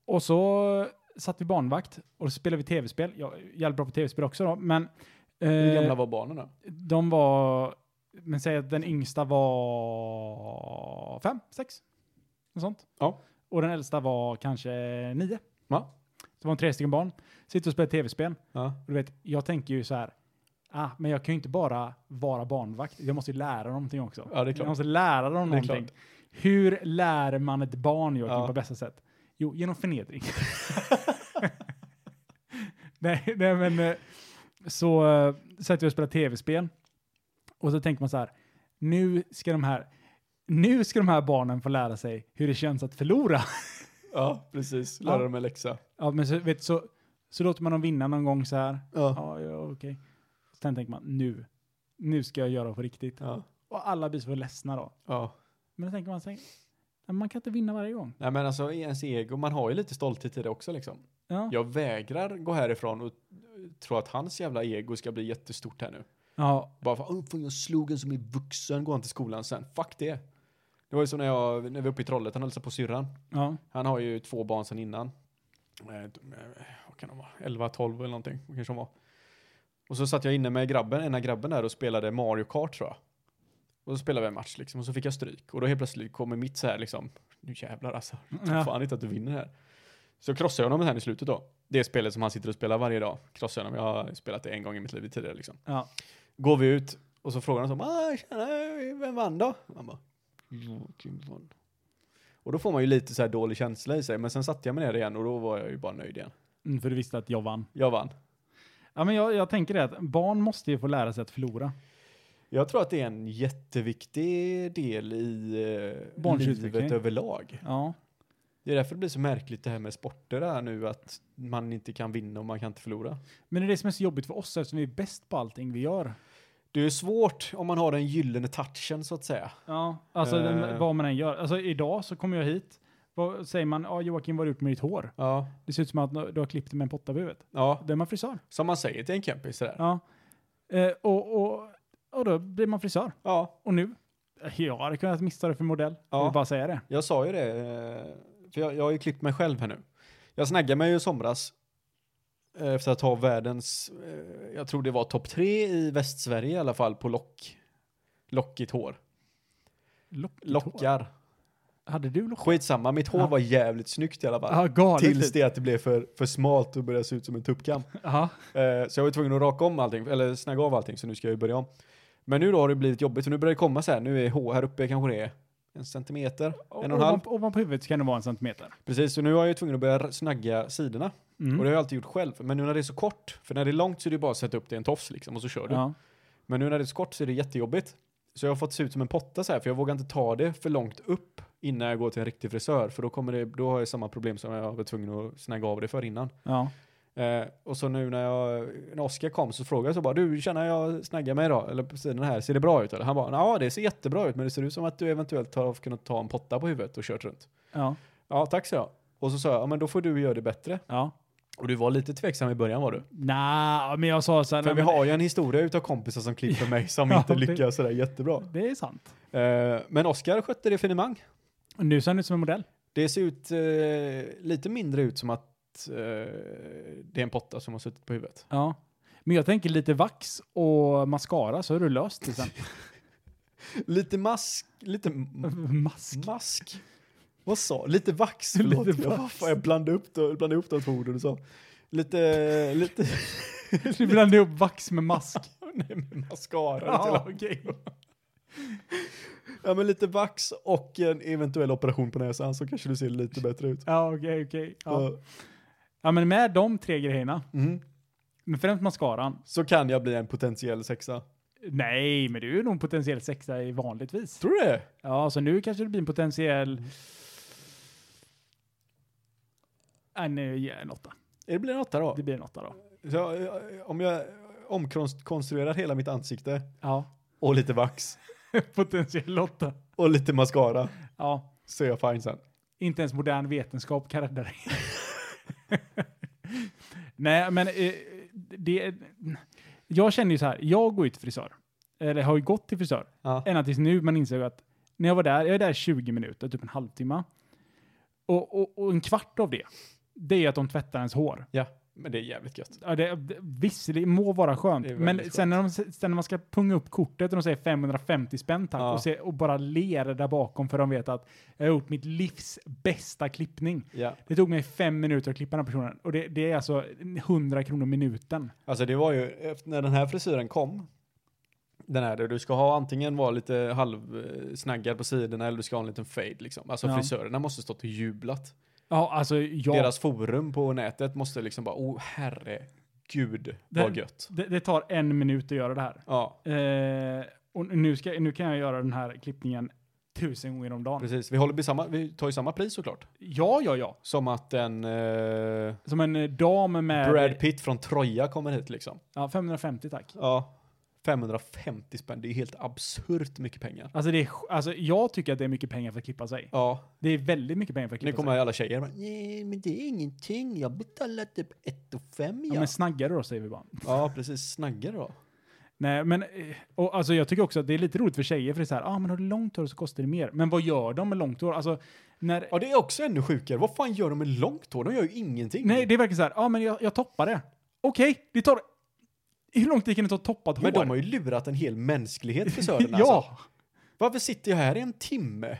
[SPEAKER 4] och så satt vi barnvakt och så spelade vi tv-spel. Jag är jävligt bra på tv-spel också då, men
[SPEAKER 3] Hur
[SPEAKER 4] eh,
[SPEAKER 3] gamla var barnen då?
[SPEAKER 4] de var, men säg att den yngsta var fem, sex, något sånt.
[SPEAKER 3] Ja.
[SPEAKER 4] Och den äldsta var kanske nio.
[SPEAKER 3] Ja.
[SPEAKER 4] Så det var tre stycken barn. Sitter och spelar tv-spel.
[SPEAKER 3] Ja.
[SPEAKER 4] Och du vet, jag tänker ju så här, ah, men jag kan ju inte bara vara barnvakt, jag måste ju lära dem någonting också.
[SPEAKER 3] Ja, det är klart.
[SPEAKER 4] Jag måste lära dem
[SPEAKER 3] Det är
[SPEAKER 4] någonting. Hur lär man ett barn Joakim
[SPEAKER 3] Ja.
[SPEAKER 4] på bästa sätt? Jo, genom förnedring. [LAUGHS] nej, nej, men eh, så eh, satt jag och spelade tv-spel och så tänker man så här, nu ska de här nu ska de här barnen få lära sig hur det känns att förlora. [LAUGHS]
[SPEAKER 3] Ja, precis. Lära
[SPEAKER 4] Ja.
[SPEAKER 3] dem en läxa.
[SPEAKER 4] Ja, men så, vet, du, så, så låter man dem vinna någon gång så här.
[SPEAKER 3] Ja.
[SPEAKER 4] Ja, ja okej. Sen tänker man nu. Nu ska jag göra det på riktigt.
[SPEAKER 3] Ja.
[SPEAKER 4] Och alla blir så ledsna då.
[SPEAKER 3] ja.
[SPEAKER 4] Men då tänker man sig, "Nej, man kan inte vinna varje gång.
[SPEAKER 3] Nej men alltså i ens ego, man har ju lite stolthet i det också liksom.
[SPEAKER 4] Ja.
[SPEAKER 3] Jag vägrar gå härifrån och eh, tro att hans jävla ego ska bli jättestort här nu.
[SPEAKER 4] ja.
[SPEAKER 3] Bara för oh, fan, jag slog en som är vuxen, går han till skolan sen. Fuck det. Det var ju som när, jag, när vi var uppe i Trollhättan och hälsade på syrran.
[SPEAKER 4] Ja.
[SPEAKER 3] Han har ju två barn sedan innan. Eh, de- eh, Vad kan de vara? 11, 12 eller någonting. Vad kanske de var. Och så satt jag inne med grabben, ena grabben där och spelade Mario Kart tror jag. Och så spelade vi en match liksom och så fick jag stryk. Och då helt plötsligt kommer mitt så här liksom, nu jävlar alltså. Jag tror
[SPEAKER 4] Ja.
[SPEAKER 3] fan inte att du vinner här. Så krossade jag honom här i slutet då. Det spelet som han sitter och spelar varje dag. Krossade jag honom, jag har spelat det en gång i mitt liv tidigare liksom.
[SPEAKER 4] Ja.
[SPEAKER 3] Går vi ut och så frågar han så, ah, tjena, vem vann då? Han bara, Joakim vann. Och då får man ju lite så här dålig känsla i sig, men sen satte jag mig ner igen och då var jag ju bara nöjd igen.
[SPEAKER 4] Mm, för du visste att jag vann.
[SPEAKER 3] Jag vann.
[SPEAKER 4] Ja, men jag, jag tänker det att barn måste ju få lära sig att förlora.
[SPEAKER 3] Jag tror att det är en jätteviktig del i eh,
[SPEAKER 4] Barns
[SPEAKER 3] livet
[SPEAKER 4] utveckling.
[SPEAKER 3] överlag.
[SPEAKER 4] Ja.
[SPEAKER 3] Det är därför det blir så märkligt det här med sporter här nu, att man inte kan vinna och man kan inte förlora.
[SPEAKER 4] Men det är det som är så jobbigt för oss eftersom vi är bäst på allting vi gör.
[SPEAKER 3] Det är svårt om man har den gyllene touchen så att säga.
[SPEAKER 4] Ja. Alltså
[SPEAKER 3] Eh.
[SPEAKER 4] den, vad man än gör. Alltså idag så kommer jag hit. Vad säger man? Ja, Joakim, vad har du gjort med ditt hår?
[SPEAKER 3] Ja,
[SPEAKER 4] Det ser ut som att du har klippt det med en potta på huvudet.
[SPEAKER 3] ja.
[SPEAKER 4] Då är man frisör.
[SPEAKER 3] som man säger till en kompis sådär.
[SPEAKER 4] Ja. Eh, och, och, och då blir man frisör.
[SPEAKER 3] Ja,
[SPEAKER 4] Och nu Jag hade kunnat missa det för modell.
[SPEAKER 3] Ja.
[SPEAKER 4] Jag vill bara säga det.
[SPEAKER 3] Jag sa ju det, eh, för jag, jag har ju klippt mig själv här nu. Jag snaggade mig ju i somras eh, efter att ha världens, eh, jag tror det var topp tre i Västsverige i alla fall på lock, lockigt hår.
[SPEAKER 4] Lockigt hår.
[SPEAKER 3] Lockar.
[SPEAKER 4] Hade du lock?
[SPEAKER 3] Skitsamma, mitt hår
[SPEAKER 4] Ja.
[SPEAKER 3] var jävligt snyggt i alla fall.
[SPEAKER 4] Ja, galet.
[SPEAKER 3] Tills det att det blev för, för smalt och började se ut som en tuppkam.
[SPEAKER 4] Ja.
[SPEAKER 3] Eh, Så jag var tvungen att raka om allting, eller snagga av allting, så nu ska jag ju börja om. Men nu då har det blivit jobbigt, och nu börjar det komma så här, nu är H här uppe kanske det är en centimeter, en och en halv.
[SPEAKER 4] Ovan- Ovanpå huvudet kan det vara en centimeter.
[SPEAKER 3] Precis, så nu har jag ju tvungen att börja snagga sidorna.
[SPEAKER 4] Mm.
[SPEAKER 3] Och det har jag alltid gjort själv. Men nu när det är så kort, för när det är långt så är det ju bara att sätta upp det i en tofs liksom, och så kör du.
[SPEAKER 4] ja.
[SPEAKER 3] Men nu när det är så kort så är det jättejobbigt. Så jag har fått se ut som en potta så här, för jag vågar inte ta det för långt upp innan jag går till en riktig frisör, för då, kommer det, då har jag samma problem som jag var tvungen att snagga av det för innan.
[SPEAKER 4] ja.
[SPEAKER 3] Eh, och så nu när, jag, när Oskar kom så frågade jag så bara, du känner jag snaggar mig idag, eller på sidan här, ser det bra ut? Eller? Han bara, ja det ser jättebra ut, men det ser ut som att du eventuellt har kunnat ta en potta på huvudet och kört runt.
[SPEAKER 4] Ja.
[SPEAKER 3] Ja, tack så jag. Och så sa jag, ja men då får du göra det bättre.
[SPEAKER 4] Ja.
[SPEAKER 3] Och du var lite tveksam i början var du.
[SPEAKER 4] Nej, men jag sa så här.
[SPEAKER 3] För
[SPEAKER 4] nej,
[SPEAKER 3] vi
[SPEAKER 4] men
[SPEAKER 3] har ju en historia utav kompisar som klipper
[SPEAKER 4] [LAUGHS]
[SPEAKER 3] mig som
[SPEAKER 4] Ja,
[SPEAKER 3] inte
[SPEAKER 4] det-
[SPEAKER 3] lyckas sådär jättebra.
[SPEAKER 4] Det är sant.
[SPEAKER 3] Eh, men Oskar skötte det finemang.
[SPEAKER 4] Nu ser han ut som en modell.
[SPEAKER 3] Det ser ut eh, lite mindre ut som att eh, det är en potta som har suttit på huvudet.
[SPEAKER 4] Ja. Men jag tänker lite vax och mascara så är du löst det sen.
[SPEAKER 3] Lite mask, lite m-
[SPEAKER 4] Mask.
[SPEAKER 3] [LAUGHS] mask. Vad sa Lite vax, förlåt.
[SPEAKER 4] Lite
[SPEAKER 3] Jag,
[SPEAKER 4] vax.
[SPEAKER 3] fan, jag blandade upp, de- blandade upp de två orden du sa. Lite, lite,
[SPEAKER 4] Du blandade ihop vax med mask.
[SPEAKER 3] [LAUGHS] nej men mascara.
[SPEAKER 4] ja,
[SPEAKER 3] till-
[SPEAKER 4] okej.
[SPEAKER 3] Ja men lite vax och en eventuell operation på näsan så kanske du ser lite bättre ut.
[SPEAKER 4] Ja, okej, okej. Ja.
[SPEAKER 3] Eh,
[SPEAKER 4] ja, men med de tre grejerna.
[SPEAKER 3] mm.
[SPEAKER 4] Men främst mascaran.
[SPEAKER 3] så kan jag bli en potentiell sexa.
[SPEAKER 4] Nej, men du är nog en potentiell sexa i vanligtvis.
[SPEAKER 3] Tror du det?
[SPEAKER 4] Ja, så nu kanske det blir en potentiell... En, en åtta.
[SPEAKER 3] Är det blir en åtta då?
[SPEAKER 4] Det blir en åtta då.
[SPEAKER 3] Så, eh, om jag omkonstruerar hela mitt ansikte
[SPEAKER 4] Ja.
[SPEAKER 3] och lite vax
[SPEAKER 4] [LAUGHS] potentiell åtta.
[SPEAKER 3] och lite mascara
[SPEAKER 4] Ja.
[SPEAKER 3] så är jag fine sen.
[SPEAKER 4] Inte ens modern vetenskap kan rädda dig. [LAUGHS] Nej, men eh, det... Jag känner ju så här, jag går ju till frisör. Eller har ju gått till frisör.
[SPEAKER 3] Ja.
[SPEAKER 4] Ända tills nu man insåg att när jag var där, jag är där 20 minuter, typ en halvtimme. Och, och, och en kvart av det, det är att de tvättar ens hår.
[SPEAKER 3] ja, men det är jävligt gött.
[SPEAKER 4] Ja, det, det, visserligen må vara skönt,
[SPEAKER 3] Det är väldigt
[SPEAKER 4] men
[SPEAKER 3] skönt.
[SPEAKER 4] Sen, när de, sen när man ska punga upp kortet och de säger 550 spänn tack
[SPEAKER 3] Ja.
[SPEAKER 4] och, se, och bara ler där bakom för de vet att jag har gjort mitt livs bästa klippning.
[SPEAKER 3] Ja.
[SPEAKER 4] Det tog mig fem minuter att klippa den här personen och det, det är alltså 100 kronor minuten.
[SPEAKER 3] Alltså det var ju, efter- när den här frisyren kom, den här där du ska ha antingen vara lite halvsnaggad på sidorna eller du ska ha en liten fade liksom. Alltså
[SPEAKER 4] Ja.
[SPEAKER 3] frisörerna måste stått och jublat.
[SPEAKER 4] Ja, alltså jag,
[SPEAKER 3] Deras forum på nätet måste liksom bara, oh herregud vad
[SPEAKER 4] Det-
[SPEAKER 3] gött.
[SPEAKER 4] det, det tar en minut att göra det här.
[SPEAKER 3] Ja.
[SPEAKER 4] Eh, och nu, ska, nu kan jag göra den här klippningen tusen gånger om dagen.
[SPEAKER 3] Precis, vi, håller vid samma, vi tar ju samma pris såklart.
[SPEAKER 4] Ja, ja, ja.
[SPEAKER 3] Som att en eh,
[SPEAKER 4] Som en eh, dam med...
[SPEAKER 3] Brad Pitt från Troja kommer hit liksom.
[SPEAKER 4] Ja, 550 tack.
[SPEAKER 3] Ja. 550 spänn, det är helt absurt mycket pengar.
[SPEAKER 4] Alltså, det är, sj- alltså jag tycker att det är mycket pengar för att klippa sig.
[SPEAKER 3] Ja,
[SPEAKER 4] Det är väldigt mycket pengar för att
[SPEAKER 3] nu
[SPEAKER 4] klippa
[SPEAKER 3] kommer
[SPEAKER 4] sig.
[SPEAKER 3] alla tjejer och bara, nej men det är ingenting, jag betalar typ 1 och 5
[SPEAKER 4] Ja, men snaggar du då säger vi bara.
[SPEAKER 3] Ja, precis, snaggar då.
[SPEAKER 4] Nej, men eh, och alltså, jag tycker också att det är lite roligt för tjejer för det är så här, ah, men har du långt hår så kostar det mer. Men vad gör de med långt hår? Alltså, när,
[SPEAKER 3] Ja, det är också ännu sjukare. Vad fan gör de med långt hår? De gör ju ingenting.
[SPEAKER 4] nej, det är verkligen så här, ah, men jag, jag toppar det. Okej, det tar... Hur lång tid kan det ta att toppa ett hår?
[SPEAKER 3] men de har ju lurat en hel mänsklighet
[SPEAKER 4] [LAUGHS]
[SPEAKER 3] frisörerna
[SPEAKER 4] Ja!
[SPEAKER 3] alltså. Varför sitter jag här i
[SPEAKER 4] [LAUGHS]
[SPEAKER 3] en timme?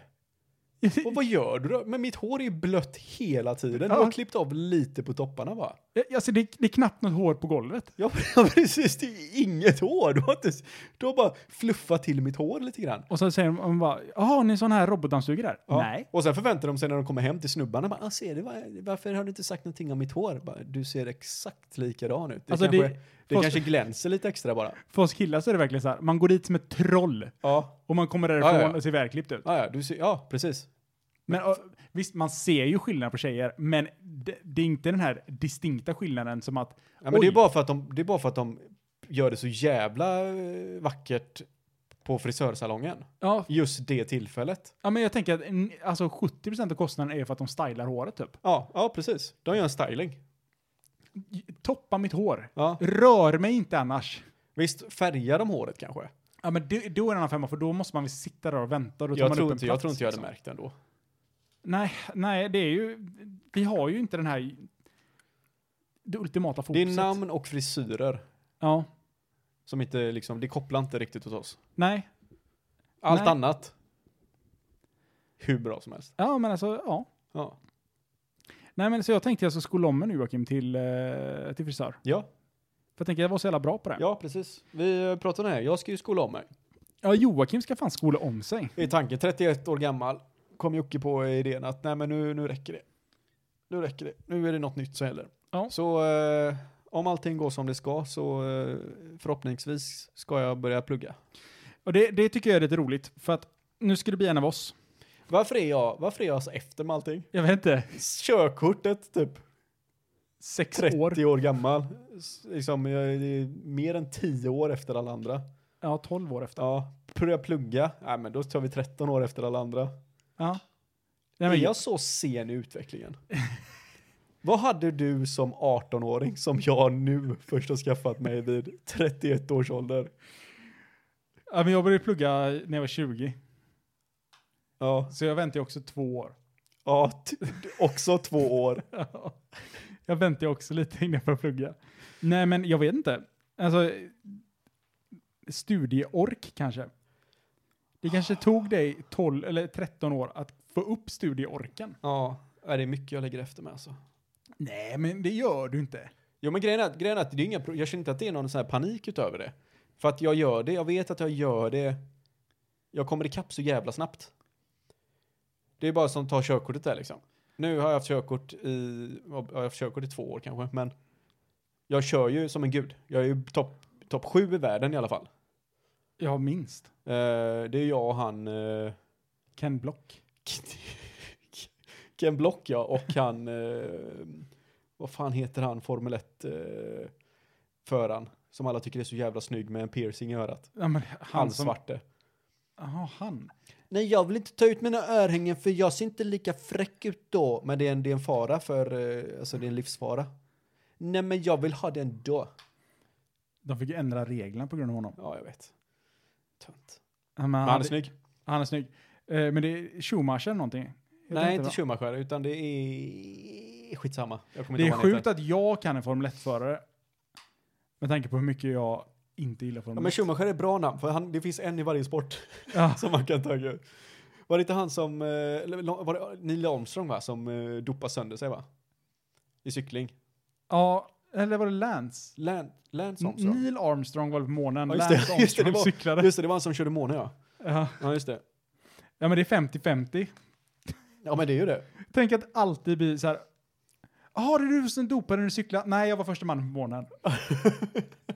[SPEAKER 3] Och vad gör du då? Men mitt hår är ju blött hela tiden. Jag har
[SPEAKER 4] Ja.
[SPEAKER 3] klippt av lite på topparna bara.
[SPEAKER 4] Eh, Alltså, det, det är knappt något hår på golvet.
[SPEAKER 3] Ja, [LAUGHS] ja, precis. Det är inget hår. Du har, inte, s- du har bara fluffat till mitt hår lite grann.
[SPEAKER 4] Och så säger de de bara, jaha, ni är sån här robotdammsugare?
[SPEAKER 3] Ja.
[SPEAKER 4] Nej.
[SPEAKER 3] Och sen förväntar de sig när de kommer hem till snubbarna. Bara, ah, ser du, vad- varför har du inte sagt någonting om mitt hår? Bara, du ser exakt likadan ut. Det,
[SPEAKER 4] Alltså, det-
[SPEAKER 3] kanske, det,
[SPEAKER 4] fast-
[SPEAKER 3] kanske glänser lite extra bara.
[SPEAKER 4] För oss killar så är det verkligen så här, man går dit som ett troll
[SPEAKER 3] Ja,
[SPEAKER 4] och man kommer därifrån
[SPEAKER 3] Ja, ja, ja.
[SPEAKER 4] och ser välklippt ut.
[SPEAKER 3] ja, ja, du ser, ja precis.
[SPEAKER 4] Men ja, visst, man ser ju skillnad på tjejer, men det, det är inte den här distinkta skillnaden som att...
[SPEAKER 3] Ja, men det är,
[SPEAKER 4] Oj.
[SPEAKER 3] bara för att de, det är bara för att de gör det så jävla eh, vackert på frisörsalongen.
[SPEAKER 4] Ja,
[SPEAKER 3] Just det tillfället.
[SPEAKER 4] ja men jag tänker att en- alltså, 70% av kostnaden är för att de stylar håret typ.
[SPEAKER 3] Ja, ja precis. De gör en styling.
[SPEAKER 4] J- Toppa mitt hår.
[SPEAKER 3] Ja.
[SPEAKER 4] Rör mig inte annars.
[SPEAKER 3] Visst, färgar de håret kanske?
[SPEAKER 4] Ja, men det- då är det en annan femma, för då måste man väl sitta där och vänta. Och då tar
[SPEAKER 3] Jag
[SPEAKER 4] man upp
[SPEAKER 3] tror,
[SPEAKER 4] en
[SPEAKER 3] inte,
[SPEAKER 4] plats,
[SPEAKER 3] jag tror inte jag hade
[SPEAKER 4] liksom.
[SPEAKER 3] märkt det ändå.
[SPEAKER 4] Nej, nej, det är ju... Vi har ju inte den här... Det ultimata
[SPEAKER 3] Det
[SPEAKER 4] fokuset.
[SPEAKER 3] är namn och frisyrer
[SPEAKER 4] Ja.
[SPEAKER 3] som inte liksom, det kopplar inte riktigt hos oss.
[SPEAKER 4] Nej.
[SPEAKER 3] Allt
[SPEAKER 4] Nej.
[SPEAKER 3] annat, hur bra som helst.
[SPEAKER 4] Ja, men alltså, ja.
[SPEAKER 3] Ja.
[SPEAKER 4] Nej, men så jag tänkte jag ska skola om mig nu, Joakim, till, eh, till frisör.
[SPEAKER 3] Ja,
[SPEAKER 4] För jag tänker, jag var så jävla bra på det.
[SPEAKER 3] ja precis. Vi pratade om det här. Jag ska ju skola om mig.
[SPEAKER 4] Ja, Joakim ska fan skola om sig.
[SPEAKER 3] I tanke 31 år gammal kom Jocke på idén att nej men nu, nu räcker det. Nu räcker det. Nu är det något nytt som gäller.
[SPEAKER 4] Ja.
[SPEAKER 3] Så eh, om allting går som det ska så eh, förhoppningsvis ska jag börja plugga.
[SPEAKER 4] Och det, det tycker jag är lite roligt, för att nu ska det bli en av oss.
[SPEAKER 3] Varför är jag, varför är jag så efter med allting?
[SPEAKER 4] Jag vet inte,
[SPEAKER 3] Körkortet typ
[SPEAKER 4] sex
[SPEAKER 3] 30
[SPEAKER 4] år?
[SPEAKER 3] år, gammal. S- Liksom, jag är mer än 10 år efter alla andra.
[SPEAKER 4] Ja, tolv år efter.
[SPEAKER 3] Ja, börja plugga. Nej men då tar vi 13 år efter alla andra.
[SPEAKER 4] Ja. Nej, men,
[SPEAKER 3] är jag så sen i utvecklingen? [LAUGHS] Vad hade du som 18-åring som jag nu först har skaffat mig vid 31 års ålder?
[SPEAKER 4] ja, men jag började plugga när jag var 20,
[SPEAKER 3] Ja,
[SPEAKER 4] så jag väntade ju också två år.
[SPEAKER 3] ja t- också två år.
[SPEAKER 4] Ja. [LAUGHS] Jag väntar ju också lite innan jag får plugga. Nej, men jag vet inte. Alltså, studieork kanske. Det kanske tog dig 12 eller 13 år att få upp studieorken.
[SPEAKER 3] Ja, det är mycket jag lägger efter mig alltså.
[SPEAKER 4] Nej, men det gör du inte.
[SPEAKER 3] Jo men grejen är, att- grejen är att det är inga, pro- jag känner inte att det är någon sån här panik utöver det. För att jag gör det, jag vet att jag gör det. Jag kommer ikapp så jävla snabbt. Det är bara som att ta körkortet där liksom. Nu har jag haft körkort i, vad- jag har haft körkort i två år kanske, men jag kör ju som en gud. Jag är ju topp top sju i världen i alla fall.
[SPEAKER 4] Ja, minst.
[SPEAKER 3] Eh, det är jag och han, eh,
[SPEAKER 4] Ken Block.
[SPEAKER 3] Ken Block ja, och han, eh, vad fan heter han, Formel 1 eh, föraren som alla tycker är så jävla snygg med en piercing i örat.
[SPEAKER 4] Ja, men
[SPEAKER 3] Han,
[SPEAKER 4] som-
[SPEAKER 3] svarte.
[SPEAKER 4] Jaha, han.
[SPEAKER 3] Nej, jag vill inte ta ut mina örhängen för jag ser inte lika fräck ut då. Men det är en, det är en fara för, eh, alltså det är en livsfara. Nej, men jag vill ha den då.
[SPEAKER 4] De fick ju ändra reglerna på grund av honom.
[SPEAKER 3] Ja, jag vet. Tönt.
[SPEAKER 4] Ja, men
[SPEAKER 3] Men han är snygg.
[SPEAKER 4] Han är snygg. Eh, men det är Schumacher eller någonting. Heter han
[SPEAKER 3] Nej,
[SPEAKER 4] va?
[SPEAKER 3] inte Schumacher, utan det är skitsamma. Jag kommer
[SPEAKER 4] Det
[SPEAKER 3] inte
[SPEAKER 4] är
[SPEAKER 3] ihåg vad han heter.
[SPEAKER 4] sjukt att jag kan en Formel 1-förare. Med tanke på hur mycket jag inte gillar
[SPEAKER 3] Ja,
[SPEAKER 4] Formel
[SPEAKER 3] men
[SPEAKER 4] 1.
[SPEAKER 3] Schumacher är bra namn, för han, det finns en i varje sport
[SPEAKER 4] Ja.
[SPEAKER 3] [LAUGHS] som man kan ta ju. Var det inte han som, eh, eller var det Neil Armstrong va, som eh, dopade sönder sig va? I cykling.
[SPEAKER 4] Ja, eller var det Lance?
[SPEAKER 3] Lan- Lance Armstrong.
[SPEAKER 4] Neil Armstrong var väl på månen.
[SPEAKER 3] Ja, just det,
[SPEAKER 4] Lance
[SPEAKER 3] [LAUGHS] just det, det
[SPEAKER 4] Armstrong
[SPEAKER 3] var-
[SPEAKER 4] cyklade.
[SPEAKER 3] Just det, det var han som körde måne ja.
[SPEAKER 4] Ja.
[SPEAKER 3] Ja, just det.
[SPEAKER 4] ja, men det är 50-50.
[SPEAKER 3] Ja, men det är ju [LAUGHS] det.
[SPEAKER 4] Tänk att alltid bli så här. Jaha, det är du som dopade när du cyklade? Nej, jag var första man på månen.
[SPEAKER 3] Det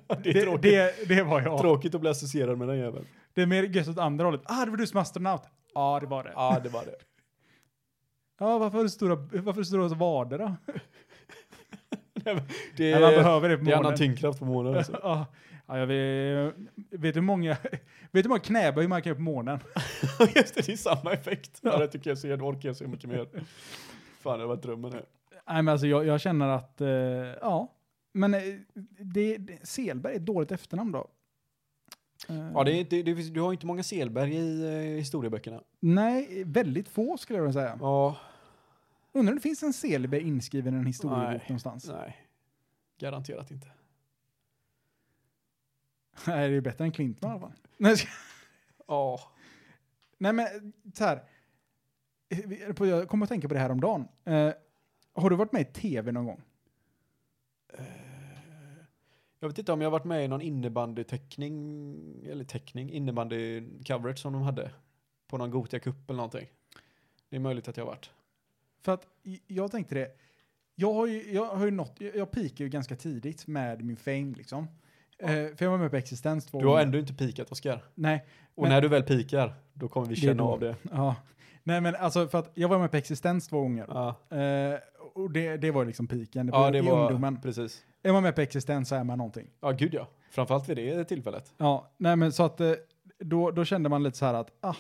[SPEAKER 3] är
[SPEAKER 4] Det,
[SPEAKER 3] tråkigt.
[SPEAKER 4] det, det var jag.
[SPEAKER 3] tråkigt att bli associerad med den jäveln.
[SPEAKER 4] Det är mer gött åt andra hållet. Ah, det var du som astronaut. Ja, det var det.
[SPEAKER 3] Ja, det [LAUGHS] var det.
[SPEAKER 4] Ja, varför har du stora, varför har du stora vader då?
[SPEAKER 3] Det
[SPEAKER 4] Nej, man behöver det på
[SPEAKER 3] det är annan
[SPEAKER 4] månen.
[SPEAKER 3] tyngdkraft på månen [LAUGHS] alltså.
[SPEAKER 4] [LAUGHS] Ja, ja, jag vet, vet du hur många, [LAUGHS] vet du hur många knäböj man kan göra på månen?
[SPEAKER 3] just det, det är samma effekt. Ja. det tycker jag så, jag orkar jag så mycket mer. Fan, det var drömmen det.
[SPEAKER 4] [LAUGHS] Nej, men alltså jag, jag känner att, eh, ja. Men eh, det, det, Selberg är ett dåligt efternamn då. Eh,
[SPEAKER 3] Ja, det är, inte- det finns, du har ju inte många Selberg i eh, historieböckerna.
[SPEAKER 4] Nej, väldigt få skulle jag vilja säga.
[SPEAKER 3] Ja,
[SPEAKER 4] Undrar om det finns en Selberg inskriven i en historiebok
[SPEAKER 3] Nej.
[SPEAKER 4] någonstans?
[SPEAKER 3] nej. Garanterat inte.
[SPEAKER 4] Nej, det är bättre än Clinton i alla fall. [LAUGHS] Nej, jag ska-
[SPEAKER 3] Ja.
[SPEAKER 4] Nej men så här. Eh, Vi- på- Jag kommer att tänka på det här om dagen. Eh, har du varit med i tv någon gång?
[SPEAKER 3] Jag vet inte om jag varit med i någon innebandyteckning, eller teckning, innebandycoverage som de hade. På någon Gothia Cup eller någonting. Det är möjligt att jag har varit.
[SPEAKER 4] För att i- jag tänkte det. Jag har ju, jag har ju nått, jag jag peakade ju ganska tidigt med min fame liksom. Eh, för jag var med på Existens två
[SPEAKER 3] Du har
[SPEAKER 4] gånger.
[SPEAKER 3] ändå inte pikat Oskar.
[SPEAKER 4] Nej,
[SPEAKER 3] Och
[SPEAKER 4] Men-
[SPEAKER 3] när du väl pikar, då kommer vi
[SPEAKER 4] Det är
[SPEAKER 3] känna
[SPEAKER 4] då.
[SPEAKER 3] av det.
[SPEAKER 4] ja. Nej men alltså för att jag var med på Existens två gånger.
[SPEAKER 3] Ja,
[SPEAKER 4] Eh, och det, det var ju liksom piken. Det var,
[SPEAKER 3] ja det
[SPEAKER 4] i
[SPEAKER 3] var
[SPEAKER 4] ungdomen.
[SPEAKER 3] precis.
[SPEAKER 4] Är man med på Existens så är man någonting.
[SPEAKER 3] Ja, gud ja. Framförallt vid det tillfället.
[SPEAKER 4] Ja, nej men så att eh, då, då kände man lite så här att, ah,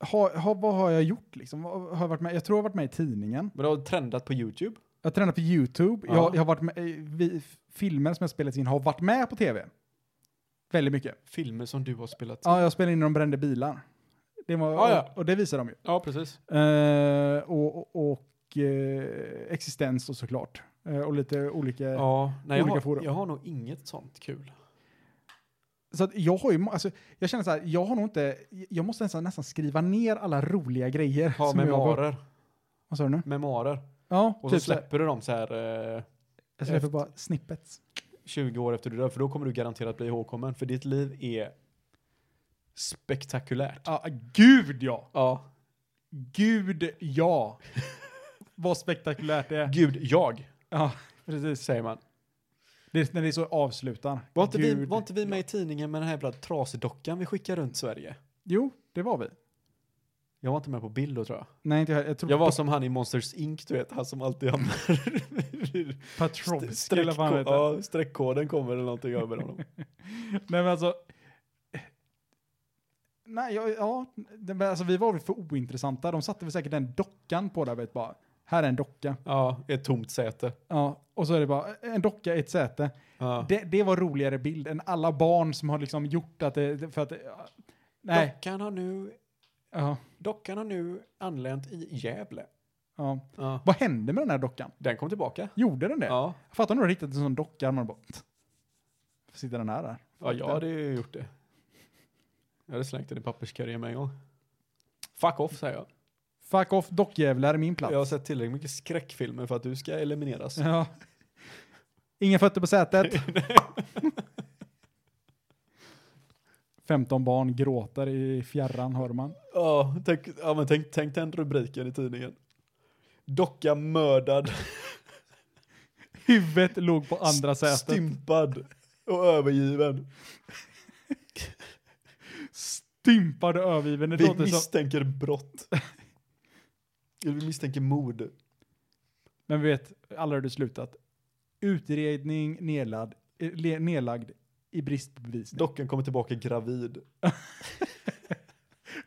[SPEAKER 4] ha, ha, vad har jag gjort liksom? Vad- Har jag, varit med? jag tror jag har varit med i tidningen.
[SPEAKER 3] Men du har trendat på YouTube.
[SPEAKER 4] Jag har tränat på YouTube.
[SPEAKER 3] Ja.
[SPEAKER 4] Jag, jag har varit med, eh, vi, filmer som jag spelat in har varit med på tv. Väldigt mycket.
[SPEAKER 3] Filmer som du har spelat.
[SPEAKER 4] Ja, jag spelade in när de brände bilar. Det var,
[SPEAKER 3] Ja, ja.
[SPEAKER 4] Och, och det visar de ju.
[SPEAKER 3] Ja, precis.
[SPEAKER 4] Eh, och och, och eh, existens och såklart. Eh, och lite olika.
[SPEAKER 3] Ja, nej, jag,
[SPEAKER 4] Olika
[SPEAKER 3] har,
[SPEAKER 4] forum.
[SPEAKER 3] jag har nog inget sånt kul.
[SPEAKER 4] Så att jag har ju, må- alltså, jag känner så här, jag har nog inte, jag måste nästan, nästan skriva ner alla roliga grejer.
[SPEAKER 3] Ha
[SPEAKER 4] som jag har-
[SPEAKER 3] memoarer.
[SPEAKER 4] Vad sa du nu?
[SPEAKER 3] Memoarer.
[SPEAKER 4] Ja,
[SPEAKER 3] Och
[SPEAKER 4] typ
[SPEAKER 3] så
[SPEAKER 4] så här,
[SPEAKER 3] släpper du dem så här eh,
[SPEAKER 4] jag släpper
[SPEAKER 3] efter-
[SPEAKER 4] bara snippets.
[SPEAKER 3] 20 år efter du dör, för då kommer du garanterat bli ihågkommen, för ditt liv är spektakulärt.
[SPEAKER 4] Ja, gud ja!
[SPEAKER 3] Ja.
[SPEAKER 4] Gud [LAUGHS] ja! Vad spektakulärt det är.
[SPEAKER 3] Gud, jag,
[SPEAKER 4] Ja, [LAUGHS] precis.
[SPEAKER 3] säger man.
[SPEAKER 4] Det är när det är så avslutar.
[SPEAKER 3] Var inte, vi,
[SPEAKER 4] Gud.
[SPEAKER 3] var inte vi med i tidningen med den här jävla trasdockan vi skickar runt Sverige?
[SPEAKER 4] Jo, det var vi.
[SPEAKER 3] Jag var inte med på bild då tror jag.
[SPEAKER 4] Nej, inte jag. Jag tror
[SPEAKER 3] Jag var som han i Monsters Inc, du vet, han som alltid hamnar vid [LAUGHS]
[SPEAKER 4] Patrovsky eller vad han
[SPEAKER 3] streckko-
[SPEAKER 4] heter.
[SPEAKER 3] ja, streckkoden kommer eller någonting över
[SPEAKER 4] [LAUGHS]
[SPEAKER 3] honom.
[SPEAKER 4] Nej men alltså. Nej, ja, ja det- men alltså vi var väl för ointressanta. De satte väl säkert den dockan på där vet bara. Här är en docka.
[SPEAKER 3] Ja, ett tomt säte.
[SPEAKER 4] Ja, och så är det bara eh, en docka i ett säte.
[SPEAKER 3] Ja.
[SPEAKER 4] Det, det var roligare bild än alla barn som har liksom gjort att det, för att, ja. nej.
[SPEAKER 3] Dockan har nu,
[SPEAKER 4] Ja,
[SPEAKER 3] dockan har nu anlänt i Gävle.
[SPEAKER 4] ja.
[SPEAKER 3] Ja.
[SPEAKER 4] Vad hände med den här dockan?
[SPEAKER 3] Den kom tillbaka.
[SPEAKER 4] Gjorde den det?
[SPEAKER 3] Ja,
[SPEAKER 4] Jag fattar om du har hittat en sån docka man bara, Varför sitter den här där?
[SPEAKER 3] ja jag hade ju gjort det. Jag hade slängt den i papperskorgen med en gång. Fuck off säger jag.
[SPEAKER 4] Fuck off dockjävlar är min plats.
[SPEAKER 3] Jag har sett tillräckligt mycket skräckfilmer för att du ska
[SPEAKER 4] [LAUGHS]
[SPEAKER 3] elimineras.
[SPEAKER 4] Ja. Inga fötter på [LAUGHS] sätet. 15 barn gråter i fjärran, hör man.
[SPEAKER 3] Ja, tänk, ja, men tänk, tänk den rubriken i tidningen. Docka mördad,
[SPEAKER 4] [LAUGHS] Huvudet låg på andra sätet.
[SPEAKER 3] stympad och övergiven.
[SPEAKER 4] Stympad och övergiven. Det
[SPEAKER 3] Vi
[SPEAKER 4] låter som...
[SPEAKER 3] misstänker brott. Eller Vi misstänker mord.
[SPEAKER 4] Men vi vet, alla hade slutat. Utredning nedlagd, eh, le- nedlagd i brist på bevisning.
[SPEAKER 3] Dockan kommer tillbaka gravid.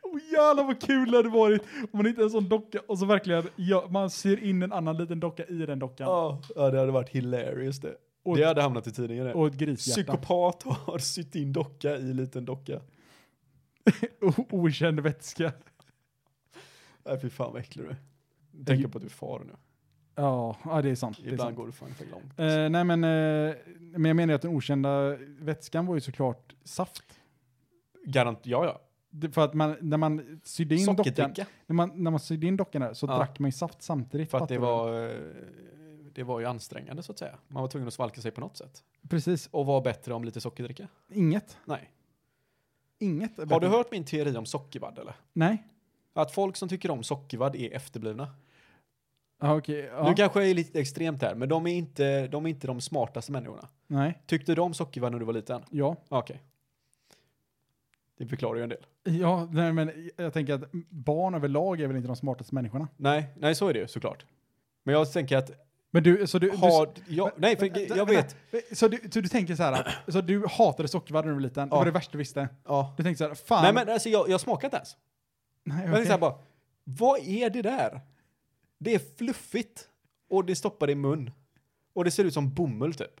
[SPEAKER 4] Oh, jävlar vad kul det hade varit om man hittar en sån docka och så verkligen, ja, man syr in en annan liten docka i den dockan.
[SPEAKER 3] Ja, Ah, ja det hade varit hilarious det.
[SPEAKER 4] Och-
[SPEAKER 3] det hade hamnat i tidningen det.
[SPEAKER 4] Och ett grishjärta.
[SPEAKER 3] Psykopat har sytt in docka i liten docka.
[SPEAKER 4] O- Okänd vätska.
[SPEAKER 3] Nej fy fan vad äcklig du är. Tänk på att du är far nu.
[SPEAKER 4] Ja, ja, det är sant. Det är sant.
[SPEAKER 3] Ibland går du fan för långt.
[SPEAKER 4] Eh, nej men, eh, men jag menar ju att den okända vätskan var ju såklart saft.
[SPEAKER 3] Garant, ja ja.
[SPEAKER 4] Det, för att man, när man sydde in dockan,
[SPEAKER 3] Sockerdricka.
[SPEAKER 4] när man, när man sydde in dockan där så
[SPEAKER 3] Ja.
[SPEAKER 4] drack man ju saft samtidigt.
[SPEAKER 3] För att
[SPEAKER 4] fattar
[SPEAKER 3] det
[SPEAKER 4] du?
[SPEAKER 3] var, eh, det var ju ansträngande så att säga. Man var tvungen att svalka sig på något sätt.
[SPEAKER 4] Precis,
[SPEAKER 3] Och var bättre om lite sockerdricka?
[SPEAKER 4] inget.
[SPEAKER 3] Nej.
[SPEAKER 4] Inget.
[SPEAKER 3] Har du hört min teori om sockervadd eller?
[SPEAKER 4] Nej.
[SPEAKER 3] Att folk som tycker om sockervadd är efterblivna.
[SPEAKER 4] Ja, okej.
[SPEAKER 3] Nu
[SPEAKER 4] Ja.
[SPEAKER 3] kanske jag är lite extremt här, men de är inte de, är inte de smartaste människorna.
[SPEAKER 4] Nej.
[SPEAKER 3] Tyckte du om sockervadd när du var liten?
[SPEAKER 4] Ja.
[SPEAKER 3] Ja, Okej. Det förklarar ju en del.
[SPEAKER 4] Ja, nej, men jag tänker att barn överlag är väl inte de smartaste människorna.
[SPEAKER 3] Nej, nej så är det ju såklart. Men jag tänker att,
[SPEAKER 4] Men du, så du...
[SPEAKER 3] har, ja, nej för
[SPEAKER 4] du
[SPEAKER 3] jag vet,
[SPEAKER 4] Så du, så du tänker så här, att- så du hatade sockervadd när du var liten. Det
[SPEAKER 3] Ja.
[SPEAKER 4] var det värsta du visste.
[SPEAKER 3] ja.
[SPEAKER 4] Du tänkte så här, fan.
[SPEAKER 3] Nej men alltså jag, jag smakar inte ens.
[SPEAKER 4] Nej,
[SPEAKER 3] Jag
[SPEAKER 4] okej.
[SPEAKER 3] tänkte så här bara, vad är det där? Det är fluffigt och det stoppar i mun. Och det ser ut som bomull typ.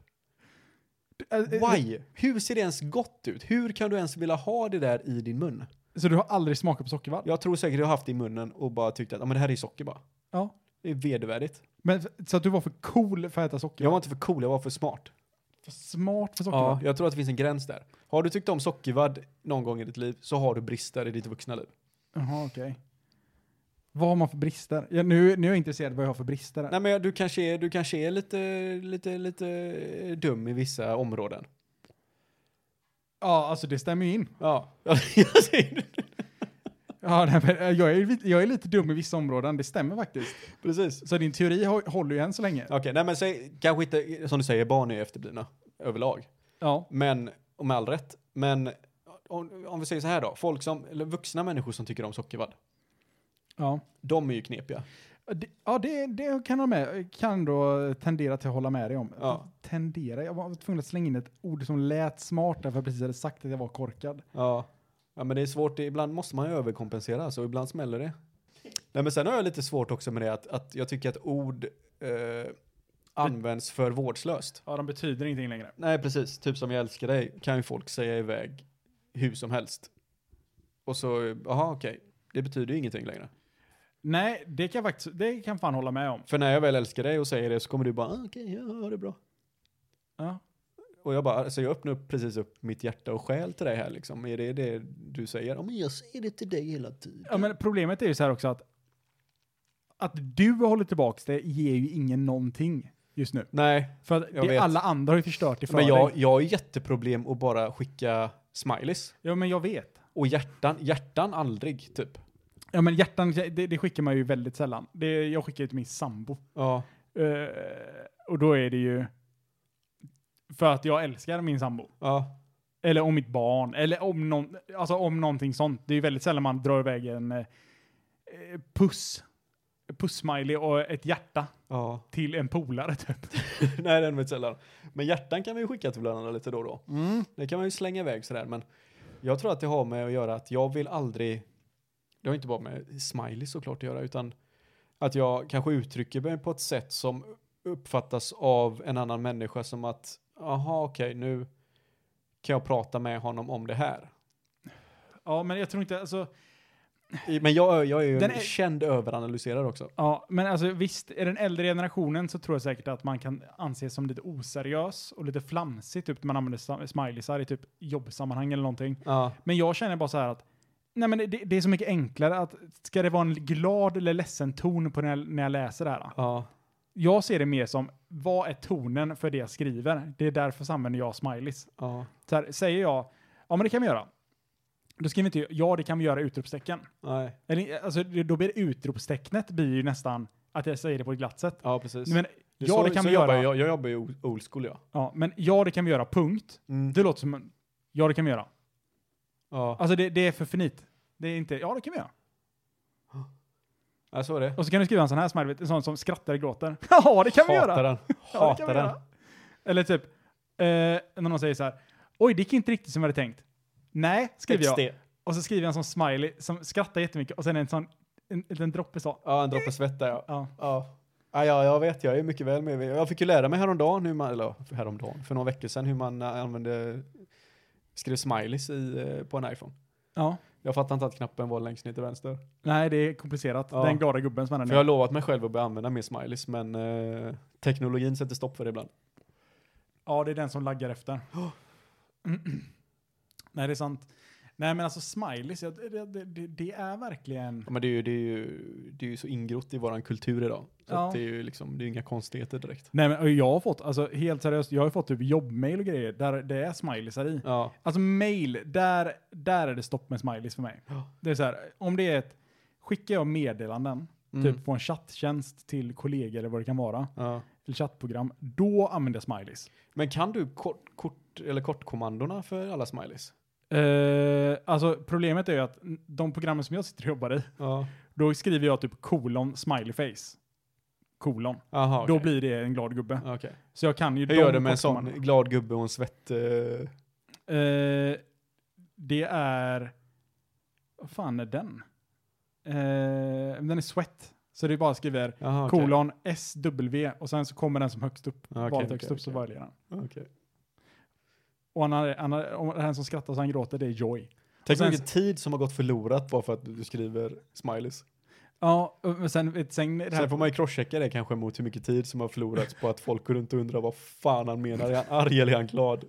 [SPEAKER 4] Eh, eh,
[SPEAKER 3] Why? Hur ser det ens gott ut? Hur kan du ens vilja ha det där i din mun?
[SPEAKER 4] Så du har aldrig smakat på sockervadd?
[SPEAKER 3] Jag tror säkert jag har haft det i munnen och bara tyckt att "Ja, men det här är socker bara.
[SPEAKER 4] Ja.
[SPEAKER 3] Det är vedervärdigt.
[SPEAKER 4] Men f- så att du var för cool för att äta socker?
[SPEAKER 3] Jag var inte för cool, jag var för smart.
[SPEAKER 4] För smart för
[SPEAKER 3] Ja,
[SPEAKER 4] sockervadd?
[SPEAKER 3] jag tror att det finns en gräns där. Har du tyckt om sockervadd någon gång i ditt liv så har du brister i ditt vuxna liv.
[SPEAKER 4] Jaha, okej. Vad har man för brister? Ja, nu, nu är jag intresserad vad jag har för brister. här.
[SPEAKER 3] Nej men du kanske är, du kanske är lite, lite, lite dum i vissa områden.
[SPEAKER 4] Ja, alltså det stämmer ju in.
[SPEAKER 3] Ja, [LAUGHS] jag säger det.
[SPEAKER 4] Ja, nej, men, eh, jag, är, li- jag är lite dum i vissa områden, det stämmer faktiskt.
[SPEAKER 3] Precis.
[SPEAKER 4] Så din teori hå- håller ju än så länge.
[SPEAKER 3] Okej, nej men säg, kanske inte, som du säger, barn är ju efterblivna överlag.
[SPEAKER 4] Ja.
[SPEAKER 3] Men, och med all rätt, men om, om vi säger så här då, folk som, eller vuxna människor som tycker om sockervadd,
[SPEAKER 4] Ja,
[SPEAKER 3] de är ju knepiga.
[SPEAKER 4] det, ja, det, det kan jag med. Kan då tendera till att hålla med dig om.
[SPEAKER 3] Ja.
[SPEAKER 4] Tendera? Jag var tvungen att slänga in ett ord som lät smart därför jag precis hade sagt att jag var korkad.
[SPEAKER 3] Ja. ja, men det är svårt, det- ibland måste man ju överkompensera, så ibland smäller det. Nej men sen har jag lite svårt också med det att, att jag tycker att ord eh, används för vårdslöst.
[SPEAKER 4] Ja, de betyder ingenting längre.
[SPEAKER 3] Nej, precis. Typ som jag älskar dig kan ju folk säga iväg hur som helst. Och så, jaha okej, det betyder ju ingenting längre.
[SPEAKER 4] Nej, det kan jag faktiskt, det kan jag fan hålla med om.
[SPEAKER 3] För när jag väl älskar dig och säger det så kommer du bara, ah, okej, ja, ha det bra.
[SPEAKER 4] Ja.
[SPEAKER 3] Och jag bara, alltså jag öppnar upp precis upp mitt hjärta och själ till dig här liksom. Är det det du säger? Ja, men jag säger det till dig hela tiden.
[SPEAKER 4] ja, men problemet är ju så här också att att du håller tillbaks det ger ju ingen någonting just nu.
[SPEAKER 3] Nej,
[SPEAKER 4] För att
[SPEAKER 3] Jag
[SPEAKER 4] det
[SPEAKER 3] vet.
[SPEAKER 4] alla andra har ju förstört det för
[SPEAKER 3] men jag,
[SPEAKER 4] dig.
[SPEAKER 3] jag har jätteproblem att bara skicka smileys.
[SPEAKER 4] Ja, men jag vet.
[SPEAKER 3] Och hjärtan, hjärtan aldrig, typ.
[SPEAKER 4] Ja, men hjärtan, det, det skickar man ju väldigt sällan. Det, jag skickar ju till min sambo.
[SPEAKER 3] Ja,
[SPEAKER 4] Eh, och då är det ju för att jag älskar min sambo.
[SPEAKER 3] ja,
[SPEAKER 4] Eller om mitt barn. Eller om, någon, alltså om någonting sånt. Det är ju väldigt sällan man drar iväg en eh, eh, puss. Puss-smiley och ett hjärta
[SPEAKER 3] ja.
[SPEAKER 4] till en polare [LAUGHS] typ.
[SPEAKER 3] [LAUGHS] Nej, det är nog inte sällan. Men hjärtan kan vi ju skicka till varandra lite då och då. Det kan man ju slänga iväg sådär, men jag tror att det har med att göra att jag vill aldrig, det har inte bara med smiley såklart att göra, utan att jag kanske uttrycker mig på ett sätt som uppfattas av en annan människa som att, aha okej, nu kan jag prata med honom om det här.
[SPEAKER 4] Ja, men jag tror inte, alltså,
[SPEAKER 3] I- Men jag, jag är ju
[SPEAKER 4] Den
[SPEAKER 3] en
[SPEAKER 4] är-
[SPEAKER 3] känd överanalyserare också.
[SPEAKER 4] ja, men alltså visst, i den äldre generationen så tror jag säkert att man kan anses som lite oseriös och lite flamsig, typ när man använder sam- smileysar i typ jobbsammanhang eller någonting.
[SPEAKER 3] Ja,
[SPEAKER 4] Men jag känner bara så här att Nej men det, det är så mycket enklare att ska det vara en glad eller ledsen ton på när jag, när jag läser det här?
[SPEAKER 3] ja,
[SPEAKER 4] Jag ser det mer som vad är tonen för det jag skriver? Det är därför så använder jag smileys.
[SPEAKER 3] ja,
[SPEAKER 4] Så här, säger jag ja men det kan vi göra. Då skriver inte jag ja det kan vi göra utropstecken.
[SPEAKER 3] nej,
[SPEAKER 4] Eller, alltså, det- då blir utropstecknet blir ju nästan att jag säger det på ett glatt sätt.
[SPEAKER 3] ja precis.
[SPEAKER 4] Men,
[SPEAKER 3] Det är
[SPEAKER 4] ja,
[SPEAKER 3] så,
[SPEAKER 4] det kan
[SPEAKER 3] så
[SPEAKER 4] vi
[SPEAKER 3] jobbar
[SPEAKER 4] göra.
[SPEAKER 3] Jag, jag jobbar ju old school jag.
[SPEAKER 4] Ja, men ja, det kan vi göra, punkt. Det låter som en- ja, det kan vi göra.
[SPEAKER 3] Ja,
[SPEAKER 4] Alltså det, det är för finit. Det är inte ja, det kan vi göra.
[SPEAKER 3] ja, så är det.
[SPEAKER 4] Och så kan du skriva en sån här smiley, en sån som skrattar och
[SPEAKER 3] [LAUGHS]
[SPEAKER 4] gråter. Ja, det kan vi
[SPEAKER 3] Hatar
[SPEAKER 4] göra!
[SPEAKER 3] den.
[SPEAKER 4] Ja, det kan
[SPEAKER 3] Hatar
[SPEAKER 4] vi
[SPEAKER 3] den.
[SPEAKER 4] göra. Eller typ, eh, när någon säger så här, oj, det gick inte riktigt som jag hade tänkt. Nej, skriver jag.
[SPEAKER 3] XD.
[SPEAKER 4] Och så skriver jag en sån smiley som skrattar jättemycket och sen en sån, en en liten droppe så.
[SPEAKER 3] Ja, en droppe svett där ja.
[SPEAKER 4] Ja.
[SPEAKER 3] ja. Ja, ja, jag vet, jag är mycket väl med. Jag fick ju lära mig häromdagen, hur man, eller häromdagen, för några veckor sedan, hur man eh, använde, skrev smileys i, eh, på en iPhone.
[SPEAKER 4] ja.
[SPEAKER 3] Jag fattar inte att knappen var längst ner till vänster.
[SPEAKER 4] Nej, det är komplicerat.
[SPEAKER 3] Ja.
[SPEAKER 4] Den glada gubben som är där
[SPEAKER 3] För
[SPEAKER 4] nu.
[SPEAKER 3] jag har lovat mig själv att börja använda mer smileys, men eh, teknologin sätter stopp för det ibland.
[SPEAKER 4] Ja, det är den som laggar
[SPEAKER 3] [GASPS]
[SPEAKER 4] efter. Nej, det är sant. Nej, men alltså smileys, ja, det, det, det, det är verkligen...
[SPEAKER 3] Ja, men det är ju, det är ju, det är ju så ingrott i våran kultur idag. Så
[SPEAKER 4] Ja.
[SPEAKER 3] att det är ju liksom, det är ju inga konstigheter direkt.
[SPEAKER 4] Nej, men jag har fått, alltså helt seriöst, jag har ju fått typ jobbmail och grejer där det är smileysar i.
[SPEAKER 3] Ja,
[SPEAKER 4] Alltså mail, där, där är det stopp med smileys för mig.
[SPEAKER 3] Ja.
[SPEAKER 4] Det är så här, om det är ett, skickar jag meddelanden,
[SPEAKER 3] Mm.
[SPEAKER 4] typ på en chatttjänst till kollegor eller vad det kan vara,
[SPEAKER 3] ja.
[SPEAKER 4] eller chattprogram, då använder jag smileys.
[SPEAKER 3] Men kan du kort, kort, eller kortkommandona för alla smileys?
[SPEAKER 4] Eh, alltså problemet är ju att n- de programmen som jag sitter och jobbar i,
[SPEAKER 3] Ja.
[SPEAKER 4] då skriver jag typ kolon smileyface. Kolon.
[SPEAKER 3] Aha,
[SPEAKER 4] Då
[SPEAKER 3] okej.
[SPEAKER 4] blir det en glad gubbe.
[SPEAKER 3] Okej.
[SPEAKER 4] Så jag kan ju
[SPEAKER 3] Hur
[SPEAKER 4] de
[SPEAKER 3] gör du med en sån
[SPEAKER 4] kortkommanderna.
[SPEAKER 3] glad gubbe och en svett... eh,
[SPEAKER 4] Eh, det är... Vad fan är den? Eh, men den är Sweat. Så det är bara skriver
[SPEAKER 3] Jaha, okej.
[SPEAKER 4] kolon SW och sen så kommer den som högst upp.
[SPEAKER 3] Ja, okej,
[SPEAKER 4] valet
[SPEAKER 3] okej,
[SPEAKER 4] högst upp så
[SPEAKER 3] okej.
[SPEAKER 4] väljer den.
[SPEAKER 3] Okej.
[SPEAKER 4] Och han har, han har, om den som skrattar så han gråter, det är Joy.
[SPEAKER 3] Tänk
[SPEAKER 4] sen-
[SPEAKER 3] vilken tid som har gått förlorat bara för att du skriver smileys.
[SPEAKER 4] Ja, och men sen... vet- sen, det här,
[SPEAKER 3] Sen får man ju crosschecka det kanske mot hur mycket tid som har förlorats på att folk går runt och undrar vad fan han menar. Är han arg eller är han glad?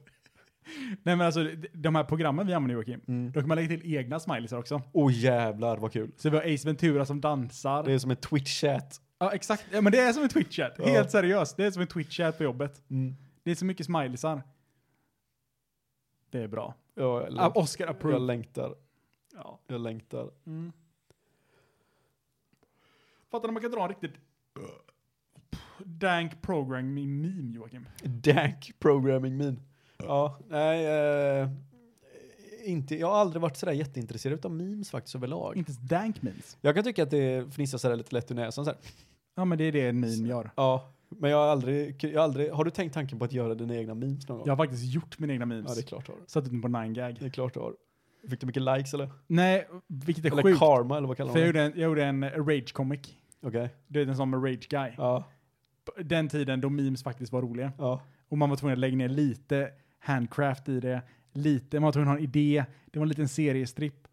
[SPEAKER 4] Nej men alltså, de- de här programmen vi använder Joakim,
[SPEAKER 3] Mm.
[SPEAKER 4] då kan man lägga till egna smileys också.
[SPEAKER 3] Oh jävlar vad kul.
[SPEAKER 4] Så vi har Ace Ventura som dansar.
[SPEAKER 3] Det är som en twitch-chat.
[SPEAKER 4] Ja exakt, ja, men det är som en Twitch-chat.
[SPEAKER 3] Ja.
[SPEAKER 4] Helt seriöst, det är som en Twitch-chat på jobbet.
[SPEAKER 3] Mm.
[SPEAKER 4] Det är så mycket smileysar. Det är bra.
[SPEAKER 3] Jag,
[SPEAKER 4] Ah,
[SPEAKER 3] läng-
[SPEAKER 4] Oscar
[SPEAKER 3] jag
[SPEAKER 4] approved.
[SPEAKER 3] längtar.
[SPEAKER 4] Ja.
[SPEAKER 3] Jag längtar.
[SPEAKER 4] Mm. Fattar du, man kan dra en riktigt dank programming meme Joakim.
[SPEAKER 3] Dank programming min. Ja, nej. eh, inte, jag har aldrig varit sådär jätteintresserad av memes faktiskt överlag.
[SPEAKER 4] Inte ens dank memes.
[SPEAKER 3] Jag kan tycka att det fnissar sådär lite lätt ur näsan såhär.
[SPEAKER 4] Ja men det är det en meme gör.
[SPEAKER 3] Ja, men jag har aldrig, jag har aldrig, har du tänkt tanken på att göra dina egna memes någon gång?
[SPEAKER 4] Jag har faktiskt gjort mina egna
[SPEAKER 3] Ja,
[SPEAKER 4] memes.
[SPEAKER 3] det är klart du har.
[SPEAKER 4] Satt ut dem på 9gag.
[SPEAKER 3] Det är klart du har. Fick du mycket likes eller?
[SPEAKER 4] Nej, vilket är
[SPEAKER 3] Eller
[SPEAKER 4] sjukt.
[SPEAKER 3] karma eller vad kallar
[SPEAKER 4] För jag
[SPEAKER 3] man det?
[SPEAKER 4] gjorde en, jag gjorde en rage comic.
[SPEAKER 3] Okej.
[SPEAKER 4] Du vet en sån med rage guy.
[SPEAKER 3] Ja.
[SPEAKER 4] den tiden då memes faktiskt var roliga.
[SPEAKER 3] Ja.
[SPEAKER 4] Och man var tvungen att lägga ner lite handcraft i det. Lite, man var tvungen att ha en idé. Det var en liten seriestripp.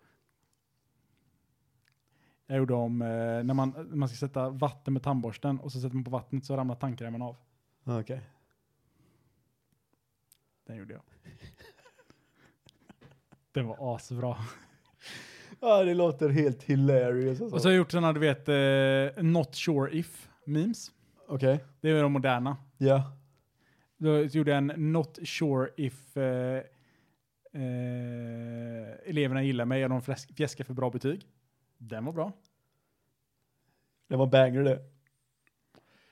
[SPEAKER 4] Jag gjorde om eh, när man, när man ska sätta vatten med tandborsten och så sätter man på vattnet så ramlar tandkrämen av.
[SPEAKER 3] Okej.
[SPEAKER 4] Den gjorde jag. Den var asbra.
[SPEAKER 3] Ja, det låter helt hilarious. alltså.
[SPEAKER 4] Och så har jag gjort sådana, du vet, eh, not sure if memes.
[SPEAKER 3] Okej.
[SPEAKER 4] Det är de moderna.
[SPEAKER 3] Ja.
[SPEAKER 4] Då gjorde jag en not sure if eh, eh, eleverna gillar mig och de fläsk- fjäskar för bra betyg. Den var bra.
[SPEAKER 3] Det var banger det.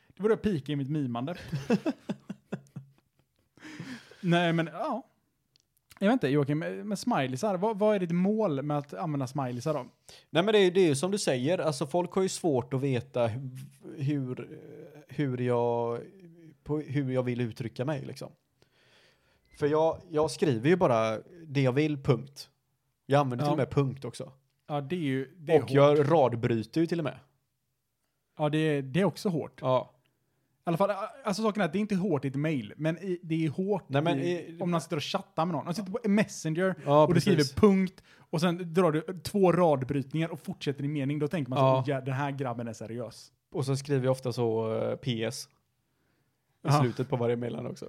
[SPEAKER 4] Det var då jag peakade i mitt mimande. Nej men ja. Jag vet inte Joakim, eh, men smileysar, vad, vad är ditt mål med att använda smileysar då?
[SPEAKER 3] Nej men det är, det är ju som du säger, alltså folk har ju svårt att veta hu- hur, hur, jag, på, hur jag vill uttrycka mig liksom. För jag, jag skriver ju bara det jag vill, punkt. Jag använder
[SPEAKER 4] Ja.
[SPEAKER 3] till och med punkt också.
[SPEAKER 4] Ja det är ju, det är
[SPEAKER 3] och
[SPEAKER 4] hårt.
[SPEAKER 3] jag radbryter ju till och med.
[SPEAKER 4] Ja det är, det är också hårt. I
[SPEAKER 3] Ja.
[SPEAKER 4] alla fall, alltså saken är att det är inte hårt i ett mail, men i, det är hårt
[SPEAKER 3] Nej, men
[SPEAKER 4] i,
[SPEAKER 3] i-
[SPEAKER 4] om man sitter och chattar med någon. Man sitter på Messenger
[SPEAKER 3] Ja,
[SPEAKER 4] och du
[SPEAKER 3] precis.
[SPEAKER 4] skriver punkt och sen drar du två radbrytningar och fortsätter din mening. Då tänker man
[SPEAKER 3] Ja.
[SPEAKER 4] så, ja den här grabben är seriös.
[SPEAKER 3] Och så skriver jag ofta så eh, PS. I
[SPEAKER 4] Ja.
[SPEAKER 3] slutet på varje meddelande också.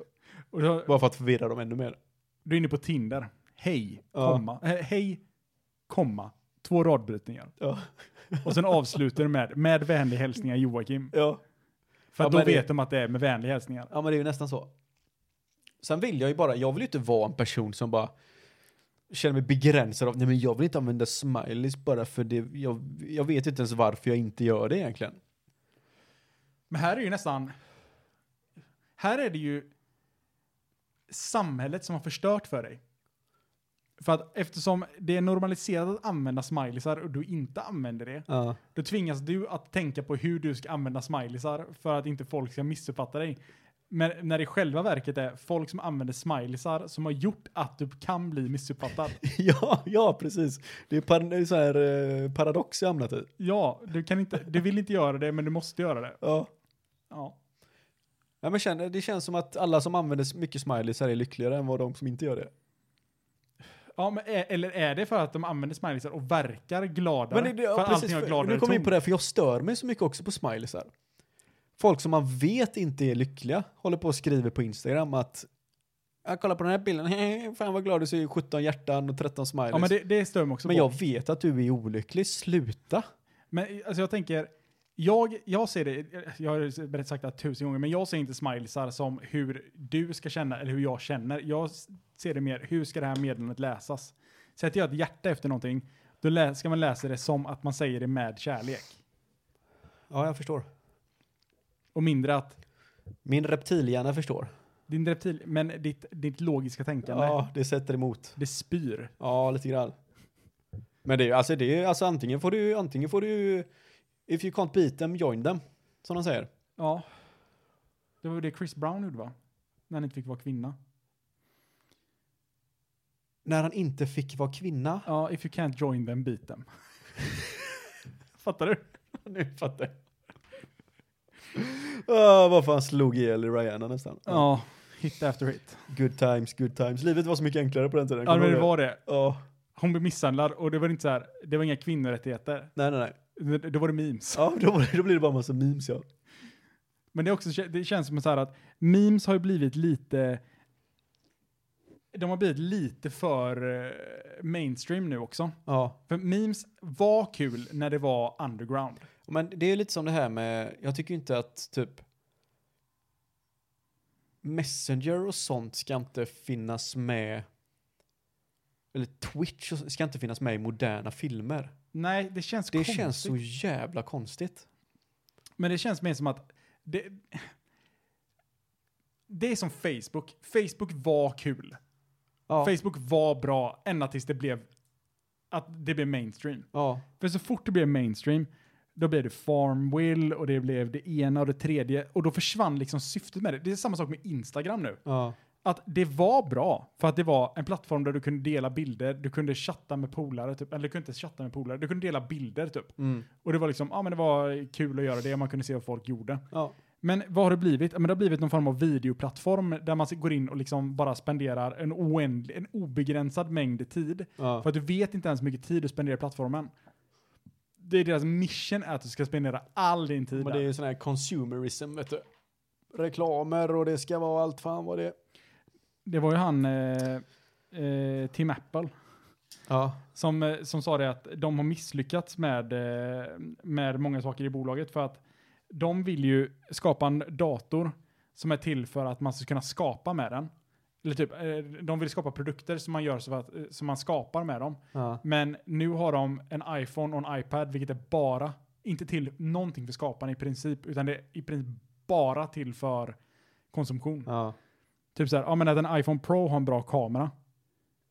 [SPEAKER 4] Och då,
[SPEAKER 3] Bara för att förvirra dem ännu mer.
[SPEAKER 4] Du är inne på Tinder. Hej,
[SPEAKER 3] Ja.
[SPEAKER 4] komma. eh, hej, komma. Två radbrytningar.
[SPEAKER 3] Ja.
[SPEAKER 4] Och sen avslutar du med, med vänlig hälsningar Joakim.
[SPEAKER 3] Ja.
[SPEAKER 4] För
[SPEAKER 3] Ja,
[SPEAKER 4] att då
[SPEAKER 3] men det-
[SPEAKER 4] vet de att det är med vänliga hälsningar.
[SPEAKER 3] Ja, men det är ju nästan så. Sen vill jag ju bara, jag vill ju inte vara en person som bara känner mig begränsad av, nej men jag vill inte använda smileys bara för det, jag, jag vet inte ens varför jag inte gör det egentligen.
[SPEAKER 4] Men här är ju nästan... Här är det ju samhället som har förstört för dig. För att eftersom det är normaliserat att använda smileysar och du inte använder det,
[SPEAKER 3] Ja.
[SPEAKER 4] då tvingas du att tänka på hur du ska använda smileysar för att inte folk ska missuppfatta dig. Men när det i själva verket är folk som använder smileysar som har gjort att du kan bli missuppfattad.
[SPEAKER 3] [LAUGHS] ja, ja precis. Det är par, det är så här eh, paradox jag hamnat i.
[SPEAKER 4] ja, du, kan inte, du vill inte göra det, men du måste göra det.
[SPEAKER 3] Ja.
[SPEAKER 4] Ja.
[SPEAKER 3] Ja, men känner, det känns som att alla som använder s- mycket smileys här är lyckligare än vad de som inte gör det.
[SPEAKER 4] ja men är, eller är det för att de använder smileysar och verkar gladare?
[SPEAKER 3] Men det, det,
[SPEAKER 4] för
[SPEAKER 3] ja,
[SPEAKER 4] att
[SPEAKER 3] precis,
[SPEAKER 4] allting har
[SPEAKER 3] för-
[SPEAKER 4] gladare
[SPEAKER 3] nu kommer vi in på
[SPEAKER 4] ton?
[SPEAKER 3] det här, för jag stör mig så mycket också på smileys här. Folk som man vet inte är lyckliga håller på och skriver på Instagram att jag kollar på den här bilden, [LAUGHS] fan vad glad du ser, ut, 17 hjärtan och 13 smileys.
[SPEAKER 4] Ja, men
[SPEAKER 3] liksom. men,
[SPEAKER 4] det, det stör mig också på.
[SPEAKER 3] jag vet att du är olycklig, sluta.
[SPEAKER 4] Men alltså jag tänker, jag, jag ser det, jag har berättat sagt det här tusen gånger, men jag ser inte smileysar som hur du ska känna eller hur jag känner. Jag s- ser det mer, hur ska det här meddelandet läsas? Sätter jag ett hjärta efter någonting, då lä- ska man läsa det som att man säger det med kärlek.
[SPEAKER 3] Ja, jag förstår.
[SPEAKER 4] Och mindre att,
[SPEAKER 3] Min reptilhjärna förstår.
[SPEAKER 4] din reptil, men ditt, ditt logiska tänkande,
[SPEAKER 3] Ja, det sätter emot.
[SPEAKER 4] det spyr.
[SPEAKER 3] Ja, lite grann. Men det är ju- alltså, det är, alltså antingen får du, antingen får du, if you can't beat them, join them. Som de säger.
[SPEAKER 4] Ja. Det var ju det Chris Brown gjorde va? När han inte fick vara kvinna.
[SPEAKER 3] När han inte fick vara kvinna.
[SPEAKER 4] Ja, if you can't join them, beat them. Fattar du?
[SPEAKER 3] [LAUGHS] Nu fattar jag. Ah, vad fan slog ihjäl Rihanna nästan. Ah,
[SPEAKER 4] Ja, hit after hit.
[SPEAKER 3] Good times, good times. Livet var så mycket enklare på den tiden.
[SPEAKER 4] Ja
[SPEAKER 3] kommer
[SPEAKER 4] men
[SPEAKER 3] du
[SPEAKER 4] det
[SPEAKER 3] ihåg
[SPEAKER 4] var det.
[SPEAKER 3] Ja,
[SPEAKER 4] Hon blev misshandlad och det var inte så här, det var inga kvinnorättigheter.
[SPEAKER 3] nej nej nej.
[SPEAKER 4] Det, det var det memes.
[SPEAKER 3] Ja, [LAUGHS] då, var det- då blir det bara massa memes ja.
[SPEAKER 4] Men det, är också, det känns som så här att memes har ju blivit lite, de har blivit lite för eh, mainstream nu också.
[SPEAKER 3] Ja.
[SPEAKER 4] För memes var kul när det var underground.
[SPEAKER 3] Men det är lite som det här med, jag tycker ju inte att typ Messenger och sånt ska inte finnas med eller Twitch och så- ska inte finnas med i moderna filmer.
[SPEAKER 4] Nej, det känns
[SPEAKER 3] Det
[SPEAKER 4] konstigt.
[SPEAKER 3] känns så jävla konstigt.
[SPEAKER 4] Men det känns mer som att det, det är som Facebook. Facebook var kul.
[SPEAKER 3] Ja.
[SPEAKER 4] Facebook var bra ända tills det blev att det blev mainstream.
[SPEAKER 3] Ja.
[SPEAKER 4] För så fort det blev mainstream, då blev det Farmville och det blev det ena och det tredje och då försvann liksom syftet med det. Det är samma sak med Instagram nu.
[SPEAKER 3] Ja.
[SPEAKER 4] att det var bra, för att det var en plattform där du kunde dela bilder, du kunde chatta med polare, typ, eller du kunde inte ens chatta med polare, du kunde dela bilder typ.
[SPEAKER 3] mm.
[SPEAKER 4] Och det var liksom, ja men det var kul att göra det, man kunde se vad folk gjorde.
[SPEAKER 3] Ja.
[SPEAKER 4] Men vad har det blivit? Ja, Men det har blivit någon form av videoplattform där man går in och liksom bara spenderar en, oändlig, en obegränsad mängd tid.
[SPEAKER 3] Ja.
[SPEAKER 4] För att du vet inte ens hur mycket tid du spenderar i plattformen. Det är deras mission är att du ska spendera all din tid
[SPEAKER 3] Men det är
[SPEAKER 4] där.
[SPEAKER 3] ju sån här consumerism, vet du. Reklamer och det ska vara allt fan vad det är.
[SPEAKER 4] Det var ju han, eh, eh, Tim Apple,
[SPEAKER 3] Ja.
[SPEAKER 4] som, eh, som sa det att de har misslyckats med, eh, med många saker i bolaget för att de vill ju skapa en dator som är till för att man ska kunna skapa med den. Eller typ, eh, de vill skapa produkter som man gör så att, eh, som man skapar med dem.
[SPEAKER 3] ja.
[SPEAKER 4] Men nu har de en iPhone och en iPad, vilket är bara, inte till någonting för skaparen i princip, utan det är i princip bara till för konsumtion.
[SPEAKER 3] ja.
[SPEAKER 4] Typ så här, ja men att en iPhone Pro har en bra kamera.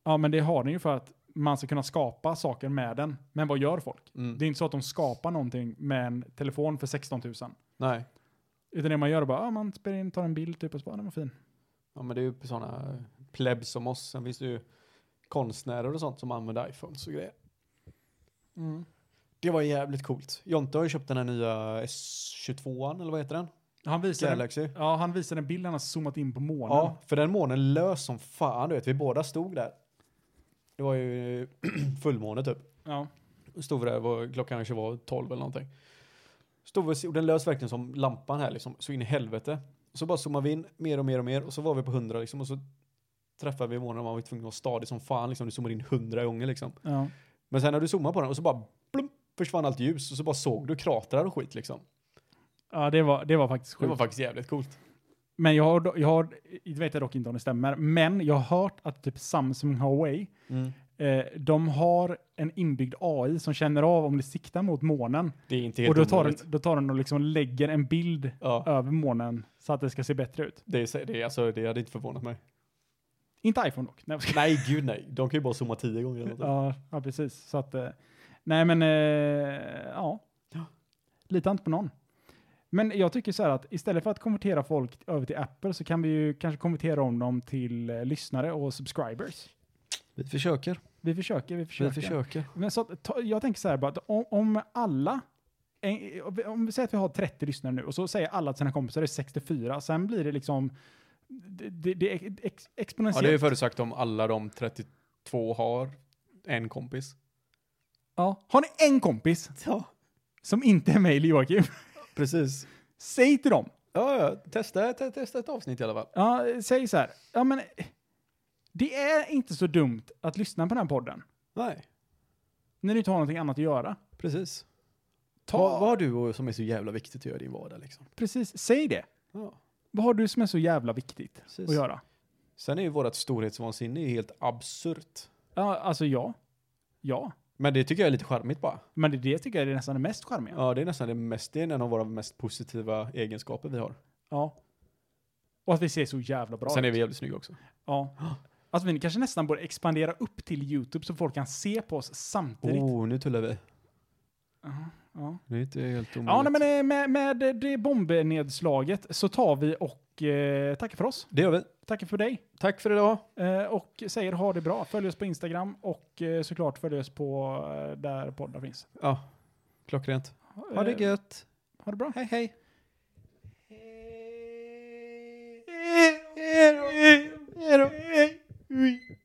[SPEAKER 4] Ja men det har den ju för att man ska kunna skapa saker med den. Men vad gör folk?
[SPEAKER 3] Mm.
[SPEAKER 4] Det är inte så att de skapar någonting med en telefon för 16 000.
[SPEAKER 3] Nej.
[SPEAKER 4] Utan det man gör är bara, ja man spelar in, tar en bild typ och så bara, "Ja, den var fin.
[SPEAKER 3] Ja men det är ju sådana plebs som oss. Sen finns det ju konstnärer och sånt som använder iPhones och grejer. Mm. Det var jävligt coolt. Jonte har ju köpt den här nya S22an eller vad heter den?
[SPEAKER 4] Han visar en,
[SPEAKER 3] Galaxy.
[SPEAKER 4] ja han visar en bild han har zoomat in på månen.
[SPEAKER 3] Ja, för den månen lös som fan, du vet. Vi båda stod där. Det var ju [CLEARS THROAT] fullmåne typ.
[SPEAKER 4] Ja.
[SPEAKER 3] Stod vi där, var, klockan kanske var 12 eller någonting. Stod vi och se- och den lös verkligen som lampan här liksom, så in i helvete. Så bara zoomade vi in mer och mer och mer och så var vi på 100 liksom och så träffade vi månen och man var tvungen att vara stadig som fan liksom. Du zoomar in 100 gånger liksom.
[SPEAKER 4] ja.
[SPEAKER 3] Men sen när du zoomar på den och så bara blum, försvann allt ljus och så bara såg du kratrar och skit liksom.
[SPEAKER 4] Ja, det var, det var faktiskt
[SPEAKER 3] Det
[SPEAKER 4] sjukt.
[SPEAKER 3] var faktiskt jävligt coolt.
[SPEAKER 4] Men jag har, jag har, jag vet jag dock inte om det stämmer, men jag har hört att typ Samsung Huawei, eh, de har en inbyggd AI som känner av om det siktar mot månen.
[SPEAKER 3] Det är inte
[SPEAKER 4] Och
[SPEAKER 3] helt
[SPEAKER 4] då tar, den,
[SPEAKER 3] omöjligt.
[SPEAKER 4] då tar den och liksom lägger en bild
[SPEAKER 3] Ja,
[SPEAKER 4] över månen så att det ska se bättre ut.
[SPEAKER 3] det, är, det, är, alltså, det hade inte förvånat mig.
[SPEAKER 4] Inte iPhone dock. Nej, jag skojar.
[SPEAKER 3] Nej, gud nej. De kan ju bara zooma tio gånger eller något.
[SPEAKER 4] ja, ja, precis. Så att, eh, nej men, eh, ja. Lita inte på någon. Men jag tycker så här att istället för att konvertera folk över till Apple så kan vi ju kanske konvertera om dem till eh, lyssnare och subscribers.
[SPEAKER 3] Vi försöker.
[SPEAKER 4] Vi försöker, vi försöker.
[SPEAKER 3] försöker.
[SPEAKER 4] Men så att, ta, jag tänker så här bara, att om, om alla, en- om vi säger att vi har 30 lyssnare nu och så säger alla till sina kompisar det är 64, sen blir det liksom, det, det, det är ex,
[SPEAKER 3] Ja, det är ju
[SPEAKER 4] exponentiellt.
[SPEAKER 3] förutsagt om alla de 32 har en kompis.
[SPEAKER 4] Ja. Har ni en kompis
[SPEAKER 3] Ja,
[SPEAKER 4] som inte är mig eller Joakim, [LAUGHS]
[SPEAKER 3] precis.
[SPEAKER 4] säg till dem.
[SPEAKER 3] Ja, ja. Testa, te- testa ett avsnitt i alla fall.
[SPEAKER 4] Ja, säg så här, ja men, det är inte så dumt att lyssna på den här podden,
[SPEAKER 3] Nej,
[SPEAKER 4] när du inte har någonting annat att göra.
[SPEAKER 3] precis.
[SPEAKER 4] Ta,
[SPEAKER 3] Vad, vad har du och- som är så jävla viktigt att göra i din vardag liksom?
[SPEAKER 4] precis, säg det.
[SPEAKER 3] Ja,
[SPEAKER 4] Vad har du som är så jävla viktigt
[SPEAKER 3] precis.
[SPEAKER 4] att göra?
[SPEAKER 3] Sen är ju vårt storhetsvansinne ju helt absurt.
[SPEAKER 4] Ja, alltså ja. Ja.
[SPEAKER 3] Men det tycker jag är lite charmigt bara.
[SPEAKER 4] Men det, det tycker jag är nästan det mest charmiga.
[SPEAKER 3] Ja, det är nästan det mest, det är en av våra mest positiva egenskaper vi har.
[SPEAKER 4] Ja. Och att vi ser så jävla bra
[SPEAKER 3] Sen är
[SPEAKER 4] ut.
[SPEAKER 3] vi jävligt snygga också.
[SPEAKER 4] Ja. Att vi kanske nästan borde expandera upp till YouTube så folk kan se på oss samtidigt.
[SPEAKER 3] Oh, nu tullar vi.
[SPEAKER 4] Ja,
[SPEAKER 3] Det är inte helt omöjligt.
[SPEAKER 4] ja nej, men eh, med, med det bombnedslaget så tar vi och eh, tackar för oss.
[SPEAKER 3] Det gör vi.
[SPEAKER 4] Tackar för dig.
[SPEAKER 3] Tack för idag.
[SPEAKER 4] Eh, och säger ha det bra. Följ oss på Instagram och eh, såklart följ oss på eh, där poddar finns.
[SPEAKER 3] Ja, klockrent. Ha det
[SPEAKER 4] Eh,
[SPEAKER 3] gött.
[SPEAKER 4] Ha det bra.
[SPEAKER 3] Hej hej. Hej då.